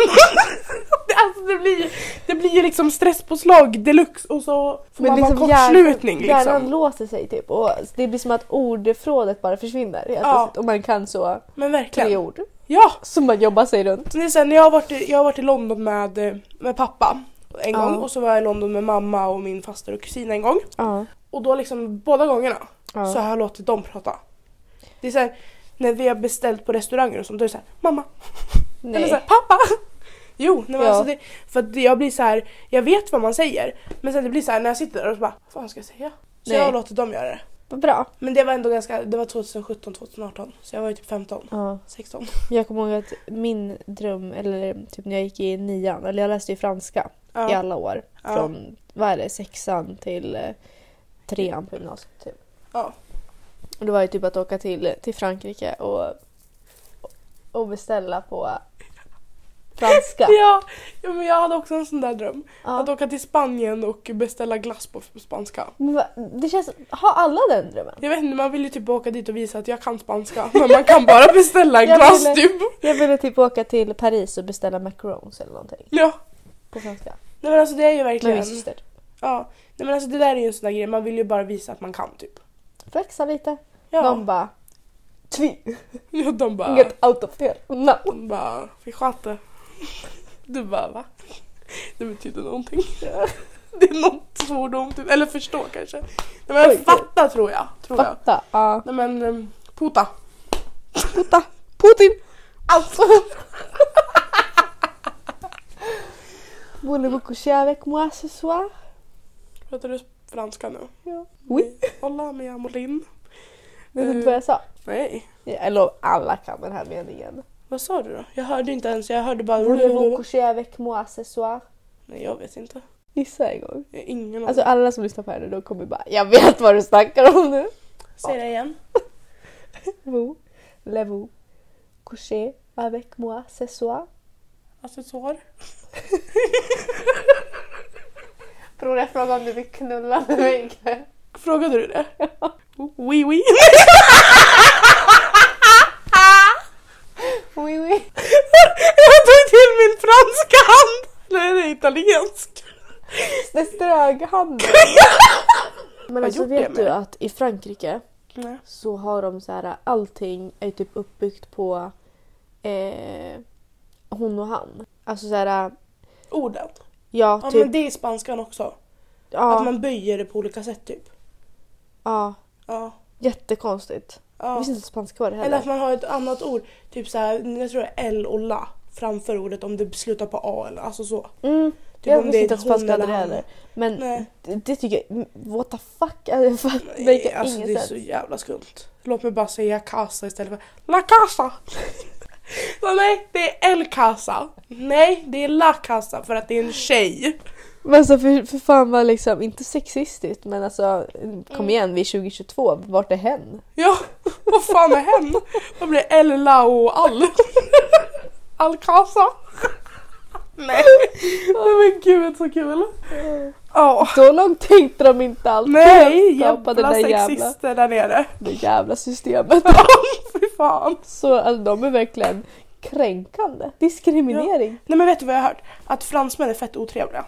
[SPEAKER 2] Det- alltså det blir, det blir ju liksom stresspåslag deluxe och så får
[SPEAKER 1] Men
[SPEAKER 2] man bara
[SPEAKER 1] liksom hjärnan-
[SPEAKER 2] kortslutning
[SPEAKER 1] Hjärnan
[SPEAKER 2] liksom.
[SPEAKER 1] låser sig typ och det blir som att ordförrådet bara försvinner helt
[SPEAKER 2] Ja.
[SPEAKER 1] plötsligt. Och man kan så
[SPEAKER 2] Men
[SPEAKER 1] tre
[SPEAKER 2] verkligen.
[SPEAKER 1] ord
[SPEAKER 2] Ja!
[SPEAKER 1] som man jobbar sig runt.
[SPEAKER 2] Så det är så här, när jag har varit i, jag har varit i London med, eh, med pappa en
[SPEAKER 1] Ja.
[SPEAKER 2] gång och så var jag i London med mamma och min faster och kusin en gång.
[SPEAKER 1] Ja.
[SPEAKER 2] Och då liksom båda gångerna så
[SPEAKER 1] Ja.
[SPEAKER 2] har jag låtit dem prata. Det är så här, när vi har beställt på restauranger och sånt då är det så här, mamma, eller så här,
[SPEAKER 1] Nej.
[SPEAKER 2] pappa. Jo, nej, men
[SPEAKER 1] Ja.
[SPEAKER 2] alltså det, för att det- jag blir så här, jag vet vad man säger men sen det blir så här när jag sitter där och så bara, vad fan ska jag säga? Så
[SPEAKER 1] Nej.
[SPEAKER 2] jag har låtit dem göra det.
[SPEAKER 1] Vad bra.
[SPEAKER 2] Men det var ändå ganska, det var 2017, 2018 så jag var ju typ 15,
[SPEAKER 1] Ja.
[SPEAKER 2] 16.
[SPEAKER 1] Jag kommer ihåg att min dröm, eller typ när jag gick i nian, eller jag läste ju franska i alla år.
[SPEAKER 2] Ja.
[SPEAKER 1] Från, vad är det, sexan till eh, trean på gymnasiet typ.
[SPEAKER 2] Ja.
[SPEAKER 1] Och det var ju typ att åka till, till Frankrike och, och beställa på franska.
[SPEAKER 2] Ja, ja, men jag hade också en sån där dröm. Att
[SPEAKER 1] Ja.
[SPEAKER 2] åka till Spanien och beställa glass på spanska.
[SPEAKER 1] Men va- Det känns, har alla den drömmen?
[SPEAKER 2] Jag vet inte, man vill ju typ åka dit och visa att jag kan spanska. Men man kan bara beställa
[SPEAKER 1] Jag
[SPEAKER 2] glass
[SPEAKER 1] ville-
[SPEAKER 2] typ.
[SPEAKER 1] Jag ville typ åka till Paris och beställa macarons eller någonting
[SPEAKER 2] Ja.
[SPEAKER 1] på franska.
[SPEAKER 2] Nej men alltså det är ju
[SPEAKER 1] Med
[SPEAKER 2] verkligen...
[SPEAKER 1] min syster.
[SPEAKER 2] Ja. Nej men alltså det där är ju en sån där grej, man vill ju bara visa att man kan typ.
[SPEAKER 1] Flexa lite.
[SPEAKER 2] Ja.
[SPEAKER 1] De bara... Tvi!
[SPEAKER 2] ja, de bara...
[SPEAKER 1] Get out of here! No!
[SPEAKER 2] De bara, fy sköte. Du bara va? Det betyder någonting. Det är något svordom typ, eller förstå kanske. Nej men
[SPEAKER 1] Oj.
[SPEAKER 2] fatta tror jag. Tror jag.
[SPEAKER 1] Fatta! Ja.
[SPEAKER 2] Nej men, em, puta.
[SPEAKER 1] Puta! Putin!
[SPEAKER 2] Alltså.
[SPEAKER 1] Voulez vous coucher avec moi ce soir?
[SPEAKER 2] Pratar du franska nu.
[SPEAKER 1] Oui.
[SPEAKER 2] Hola mi amo Linn.
[SPEAKER 1] Vet du inte vad jag sa?
[SPEAKER 2] Nej.
[SPEAKER 1] Jag lovar, alla kan den här meningen.
[SPEAKER 2] Vad sa du då? Jag hörde inte ens, jag hörde bara...
[SPEAKER 1] Voulez-vous coucher avec moi ce soir?
[SPEAKER 2] Nej jag vet inte.
[SPEAKER 1] Gissa en gång.
[SPEAKER 2] Jag har ingen aning.
[SPEAKER 1] Alltså alla som lyssnar på det här nu, de kommer bara Jag vet vad du snackar om nu!
[SPEAKER 2] Säg det igen.
[SPEAKER 1] Vous, levez-vous, coucher avec moi ce soir?
[SPEAKER 2] Accessoar.
[SPEAKER 1] Bror jag frågade om du vill knulla med mig
[SPEAKER 2] Frågade du det? Oh, Oui oui.
[SPEAKER 1] Oui oui.
[SPEAKER 2] jag tog till min franska hand! Nej det är italiensk.
[SPEAKER 1] Det strög handen. Men alltså
[SPEAKER 2] gjort det
[SPEAKER 1] vet
[SPEAKER 2] med
[SPEAKER 1] du
[SPEAKER 2] det?
[SPEAKER 1] att i Frankrike
[SPEAKER 2] Nej.
[SPEAKER 1] så har de så här allting är typ uppbyggt på eh, hon och han. Alltså så här
[SPEAKER 2] Orden.
[SPEAKER 1] ja
[SPEAKER 2] Ja
[SPEAKER 1] typ
[SPEAKER 2] men det är i spanskan också.
[SPEAKER 1] ja,
[SPEAKER 2] Att man böjer det på olika sätt typ.
[SPEAKER 1] ja
[SPEAKER 2] Ja.
[SPEAKER 1] jättekonstigt. Jag
[SPEAKER 2] ja.
[SPEAKER 1] visste inte att spanska var det
[SPEAKER 2] Eller
[SPEAKER 1] heller.
[SPEAKER 2] att man har ett annat ord. Typ såhär, jag tror det är L och la framför ordet om det slutar på A eller alltså så.
[SPEAKER 1] Mm,
[SPEAKER 2] Typ
[SPEAKER 1] jag
[SPEAKER 2] om
[SPEAKER 1] visste
[SPEAKER 2] det är
[SPEAKER 1] inte att
[SPEAKER 2] hon
[SPEAKER 1] spanska hade
[SPEAKER 2] eller
[SPEAKER 1] det
[SPEAKER 2] han.
[SPEAKER 1] heller. Men
[SPEAKER 2] Nej.
[SPEAKER 1] det, det tycker jag, what the fuck? Alltså, jag fattar- det
[SPEAKER 2] Nej,
[SPEAKER 1] verkar
[SPEAKER 2] alltså
[SPEAKER 1] ingen
[SPEAKER 2] det är
[SPEAKER 1] sens.
[SPEAKER 2] så jävla skumt. Låt mig bara säga casa istället för la casa. Så nej, det är el casa. Nej, det är la casa för att det är en tjej.
[SPEAKER 1] Men alltså för, för fan vad liksom, inte sexistiskt men alltså kom igen vi är 2022, vart är hen?
[SPEAKER 2] Ja, vad fan är hen? Vad blir el, la och all? Al casa. Nej. Nej men gud så kul.
[SPEAKER 1] Mm.
[SPEAKER 2] Ja.
[SPEAKER 1] Så långt tänkte de inte alltid.
[SPEAKER 2] Nej,
[SPEAKER 1] Skapade
[SPEAKER 2] jävla
[SPEAKER 1] det där jävla,
[SPEAKER 2] sexister där nere.
[SPEAKER 1] det jävla systemet.
[SPEAKER 2] Fy fan.
[SPEAKER 1] Så alltså, de är verkligen kränkande. Diskriminering.
[SPEAKER 2] Nej men vet du vad jag har hört? Att fransmän är fett otrevliga.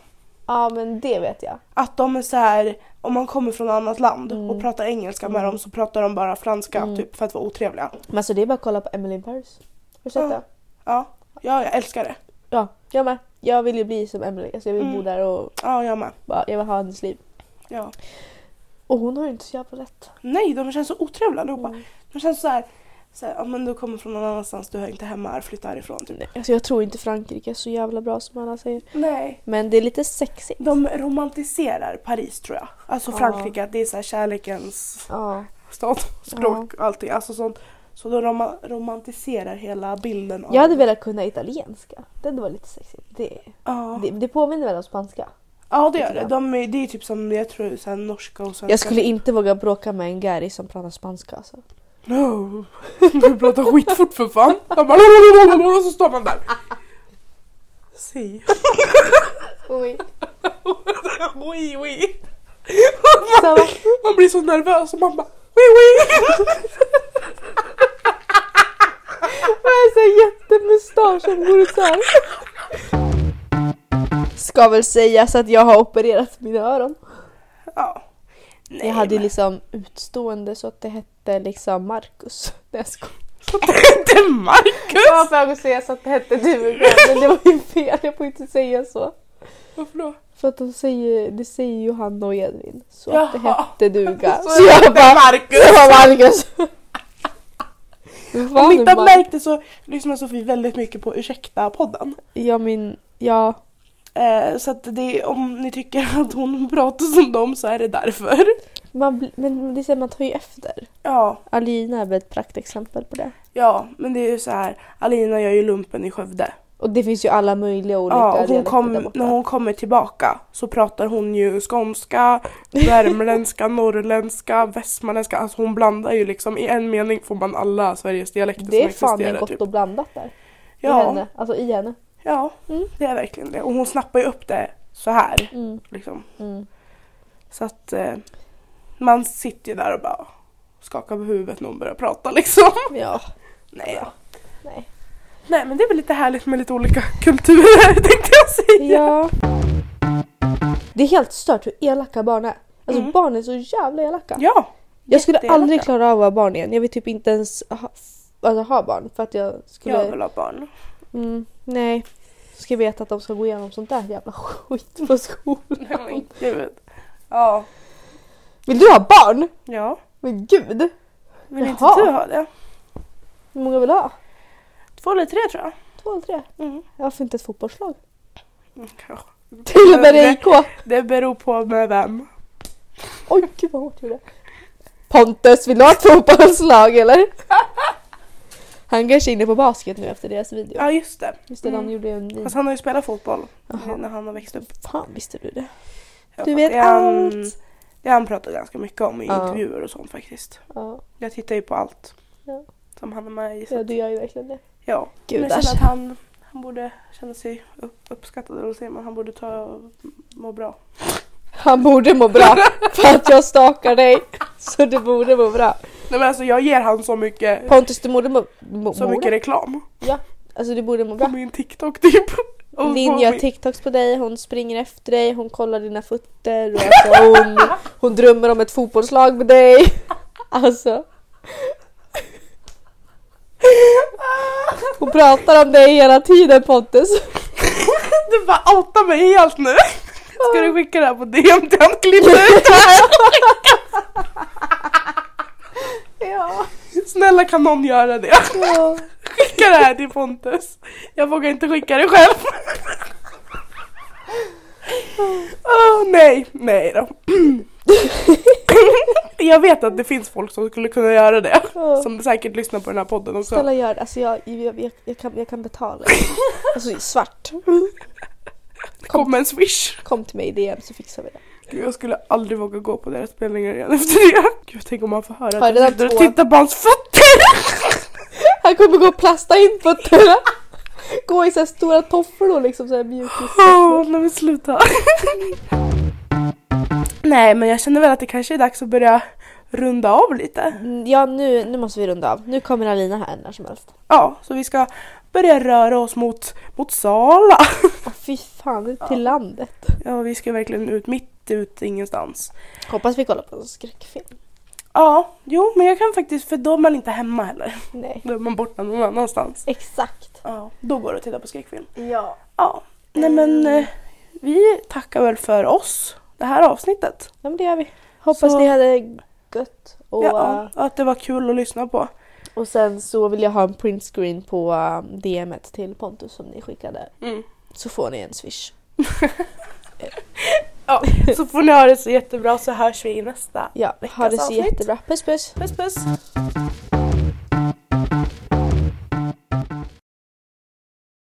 [SPEAKER 1] Ja, men det vet jag.
[SPEAKER 2] Att de är så här, om man kommer från annat land
[SPEAKER 1] Mm.
[SPEAKER 2] och pratar engelska med dem så pratar de bara franska
[SPEAKER 1] Mm.
[SPEAKER 2] typ för att vara otrevliga.
[SPEAKER 1] Men alltså det är bara att kolla på Emily in Paris. Har du sett
[SPEAKER 2] Ja.
[SPEAKER 1] det?
[SPEAKER 2] Ja, ja jag älskar det.
[SPEAKER 1] Ja, jag med. Jag vill ju bli som Emily. Alltså jag vill bo
[SPEAKER 2] Mm.
[SPEAKER 1] där och
[SPEAKER 2] Ja, jag med.
[SPEAKER 1] bara, jag vill ha hennes liv.
[SPEAKER 2] Ja.
[SPEAKER 1] Och hon har ju inte så jävla rätt.
[SPEAKER 2] Nej, de känns så otrevliga allihopa.
[SPEAKER 1] Mm.
[SPEAKER 2] De känns så här, så här, ja men du kommer från någon annanstans, du hör inte hemma här, flytta härifrån typ.
[SPEAKER 1] Alltså jag tror inte Frankrike är så jävla bra som alla säger.
[SPEAKER 2] Nej.
[SPEAKER 1] Men det är lite sexigt.
[SPEAKER 2] De romantiserar Paris tror jag. Alltså
[SPEAKER 1] Ja.
[SPEAKER 2] Frankrike, att det är så här kärlekens
[SPEAKER 1] Ja.
[SPEAKER 2] stad, språk och allting. Alltså sånt. Så de rom- romantiserar hela bilden av...
[SPEAKER 1] Jag hade velat kunna italienska. Det hade varit lite sexigt. Det,
[SPEAKER 2] Ja,
[SPEAKER 1] det, det påminner väl om spanska?
[SPEAKER 2] ja det gör det. De är, det är typ som jag tror så här, norska och svenska.
[SPEAKER 1] Jag skulle inte våga bråka med en gäri som pratar spanska. Alltså.
[SPEAKER 2] No. Du pratar skitfort för fan. De bara... Och så står man där. Si. Oui, oui.
[SPEAKER 1] Så,
[SPEAKER 2] Man blir så nervös och man bara... Oui, oui.
[SPEAKER 1] Med en jättemustasch som går ut såhär. Ska väl sägas att jag har opererat mina öron.
[SPEAKER 2] Ja. Nej,
[SPEAKER 1] jag hade ju
[SPEAKER 2] men-
[SPEAKER 1] liksom utstående så att det hette liksom Marcus. Nej jag skojar.
[SPEAKER 2] Det är Marcus!
[SPEAKER 1] Jag var på väg att säga så att det hette du men det var ju fel. Jag får inte säga så.
[SPEAKER 2] Varför då?
[SPEAKER 1] För att de säger, det säger Johanna och Edvin. Så att det
[SPEAKER 2] Jaha.
[SPEAKER 1] hette duga.
[SPEAKER 2] Så
[SPEAKER 1] Så jag bara
[SPEAKER 2] Marcus!
[SPEAKER 1] Det var Marcus! Vad
[SPEAKER 2] Om ni inte har
[SPEAKER 1] man-
[SPEAKER 2] märkt det så lyssnar Sofie väldigt mycket på Ursäkta-podden.
[SPEAKER 1] Ja min, ja.
[SPEAKER 2] Eh, så att det, om ni tycker att hon pratar som dem så är det därför.
[SPEAKER 1] Man, bli- men det är så här, man tar ju efter.
[SPEAKER 2] Ja,
[SPEAKER 1] Alina är väl ett praktexempel på det.
[SPEAKER 2] ja, men det är ju så här. Alina gör ju lumpen i Skövde.
[SPEAKER 1] Och det finns ju alla möjliga olika
[SPEAKER 2] Ja, och hon
[SPEAKER 1] dialekter
[SPEAKER 2] kom,
[SPEAKER 1] där borta.
[SPEAKER 2] när hon kommer tillbaka så pratar hon ju skånska, värmländska, norrländska, västmanländska. Alltså hon blandar ju liksom, i en mening får man alla Sveriges dialekter
[SPEAKER 1] Det är
[SPEAKER 2] som
[SPEAKER 1] fan
[SPEAKER 2] existerar.
[SPEAKER 1] med gott
[SPEAKER 2] typ.
[SPEAKER 1] och blandat där. I
[SPEAKER 2] ja,
[SPEAKER 1] henne. Alltså i henne.
[SPEAKER 2] ja,
[SPEAKER 1] Mm.
[SPEAKER 2] det är verkligen det. Och hon snappar ju upp det så här.
[SPEAKER 1] Mm,
[SPEAKER 2] Liksom.
[SPEAKER 1] mm.
[SPEAKER 2] Så att eh, man sitter ju där och bara skakar på huvudet när hon börjar prata liksom.
[SPEAKER 1] Ja.
[SPEAKER 2] Nej, ja.
[SPEAKER 1] Nej.
[SPEAKER 2] Nej men det är väl lite härligt med lite olika kulturer tänkte jag säga.
[SPEAKER 1] ja. Det är helt stört hur elaka barn är. Alltså
[SPEAKER 2] Mm.
[SPEAKER 1] barn är så jävla elaka.
[SPEAKER 2] Ja,
[SPEAKER 1] jag skulle
[SPEAKER 2] jätteelaka.
[SPEAKER 1] aldrig klara av att vara barn igen. Jag vill typ inte ens ha, alltså, ha barn för att jag skulle...
[SPEAKER 2] jag vill ha barn.
[SPEAKER 1] Mm, nej. Ska veta att de ska gå igenom sånt där jävla skit på skolan.
[SPEAKER 2] Nej, men gud. Ja.
[SPEAKER 1] Vill du ha barn?
[SPEAKER 2] Ja.
[SPEAKER 1] Men gud!
[SPEAKER 2] Vill inte
[SPEAKER 1] Jaha.
[SPEAKER 2] du ha det?
[SPEAKER 1] Hur många vill du ha?
[SPEAKER 2] Två eller tre tror jag.
[SPEAKER 1] Två eller tre?
[SPEAKER 2] Mm.
[SPEAKER 1] Varför inte ett fotbollslag?
[SPEAKER 2] kanske.
[SPEAKER 1] Till och med IK!
[SPEAKER 2] Det beror på med vem.
[SPEAKER 1] Oj, gud vad hårt jag gjorde. Pontus, vill du ha ett fotbollslag eller? Han kanske är inne på basket nu efter deras video.
[SPEAKER 2] Ja just det.
[SPEAKER 1] Just det, de
[SPEAKER 2] Mm.
[SPEAKER 1] gjorde en ny.
[SPEAKER 2] Fast han har ju spelat fotboll
[SPEAKER 1] Jaha.
[SPEAKER 2] när han har växt upp.
[SPEAKER 1] Fan visste du det?
[SPEAKER 2] Ja,
[SPEAKER 1] Du vet
[SPEAKER 2] det är han-
[SPEAKER 1] allt.
[SPEAKER 2] Det har han pratat ganska mycket om i
[SPEAKER 1] Ja.
[SPEAKER 2] intervjuer och sånt faktiskt.
[SPEAKER 1] Ja,
[SPEAKER 2] Jag tittar ju på allt
[SPEAKER 1] Ja.
[SPEAKER 2] som han är med i. så
[SPEAKER 1] ja
[SPEAKER 2] att-
[SPEAKER 1] du gör ju verkligen det.
[SPEAKER 2] Ja.
[SPEAKER 1] Gud,
[SPEAKER 2] men jag
[SPEAKER 1] äsch.
[SPEAKER 2] känner att han, han borde känna sig upp, uppskattad, eller vad säger man? Han borde ta må bra.
[SPEAKER 1] Han borde må bra för att jag stakar dig. Så du borde må bra.
[SPEAKER 2] Nej men alltså jag ger han så mycket,
[SPEAKER 1] Pontus, du borde må, må,
[SPEAKER 2] så
[SPEAKER 1] må
[SPEAKER 2] mycket
[SPEAKER 1] bra.
[SPEAKER 2] reklam.
[SPEAKER 1] Alltså du borde må
[SPEAKER 2] På
[SPEAKER 1] bra.
[SPEAKER 2] min TikTok typ. Och på
[SPEAKER 1] Linn gör
[SPEAKER 2] min-
[SPEAKER 1] TikToks på dig, hon springer efter dig, hon kollar dina fötter och alltså hon, hon drömmer om ett fotbollslag med dig. Alltså. Hon pratar om dig hela tiden Pontus.
[SPEAKER 2] Du bara outar mig helt nu. Ska du skicka det här på DM till han klipper ut det här?
[SPEAKER 1] Ja.
[SPEAKER 2] Snälla kan någon göra det? Skicka det här till Pontus. Jag vågar inte skicka det själv. Åh nej, nej då. jag vet att det finns folk som skulle kunna göra det. Som säkert lyssnar på den här podden också.
[SPEAKER 1] Snälla gör det, alltså jag, jag, jag, jag, kan, jag kan betala. Alltså svart.
[SPEAKER 2] Kom med en swish.
[SPEAKER 1] Kom till mig i DM så fixar vi det.
[SPEAKER 2] Gud, jag skulle aldrig våga gå på deras spelningar igen efter det. Gud, tänk om man får höra
[SPEAKER 1] Har
[SPEAKER 2] att
[SPEAKER 1] redan
[SPEAKER 2] jag sitter och
[SPEAKER 1] två-
[SPEAKER 2] tittar på hans fötter.
[SPEAKER 1] Han kommer gå och plasta in fötterna. Gå i så här stora tofflor liksom så här mjukis.
[SPEAKER 2] Åh, nej men sluta. nej, men jag känner väl att det kanske är dags att börja runda av lite.
[SPEAKER 1] Mm, Ja, nu, nu måste vi runda av. Nu kommer Alina här när som helst.
[SPEAKER 2] Ja, så vi ska börja röra oss mot, mot Sala.
[SPEAKER 1] Åh, Ah, fy fan, ut till landet.
[SPEAKER 2] Ja, vi ska verkligen ut mitt ut ingenstans.
[SPEAKER 1] Hoppas vi kollar på en skräckfilm.
[SPEAKER 2] Ja, jo, men jag kan faktiskt, för då är man inte hemma heller.
[SPEAKER 1] Nej,
[SPEAKER 2] Då är man borta någon annanstans.
[SPEAKER 1] exakt.
[SPEAKER 2] Ja, då går det att titta på skräckfilm.
[SPEAKER 1] Ja.
[SPEAKER 2] Ja, nej men
[SPEAKER 1] Mm.
[SPEAKER 2] eh, vi tackar väl för oss, det här avsnittet.
[SPEAKER 1] ja men det gör vi. Hoppas
[SPEAKER 2] Så-
[SPEAKER 1] ni hade gött. Och, eh,
[SPEAKER 2] Ja, att det var kul att lyssna på.
[SPEAKER 1] och sen så vill jag ha en printscreen på eh, DMet till Pontus som ni skickade.
[SPEAKER 2] Mm.
[SPEAKER 1] Så får ni en swish.
[SPEAKER 2] Ja, så får ni ha det så jättebra så hörs vi i nästa
[SPEAKER 1] Ja, ha
[SPEAKER 2] Veckans
[SPEAKER 1] det så
[SPEAKER 2] avsnitt.
[SPEAKER 1] jättebra. Puss puss!
[SPEAKER 2] Puss puss!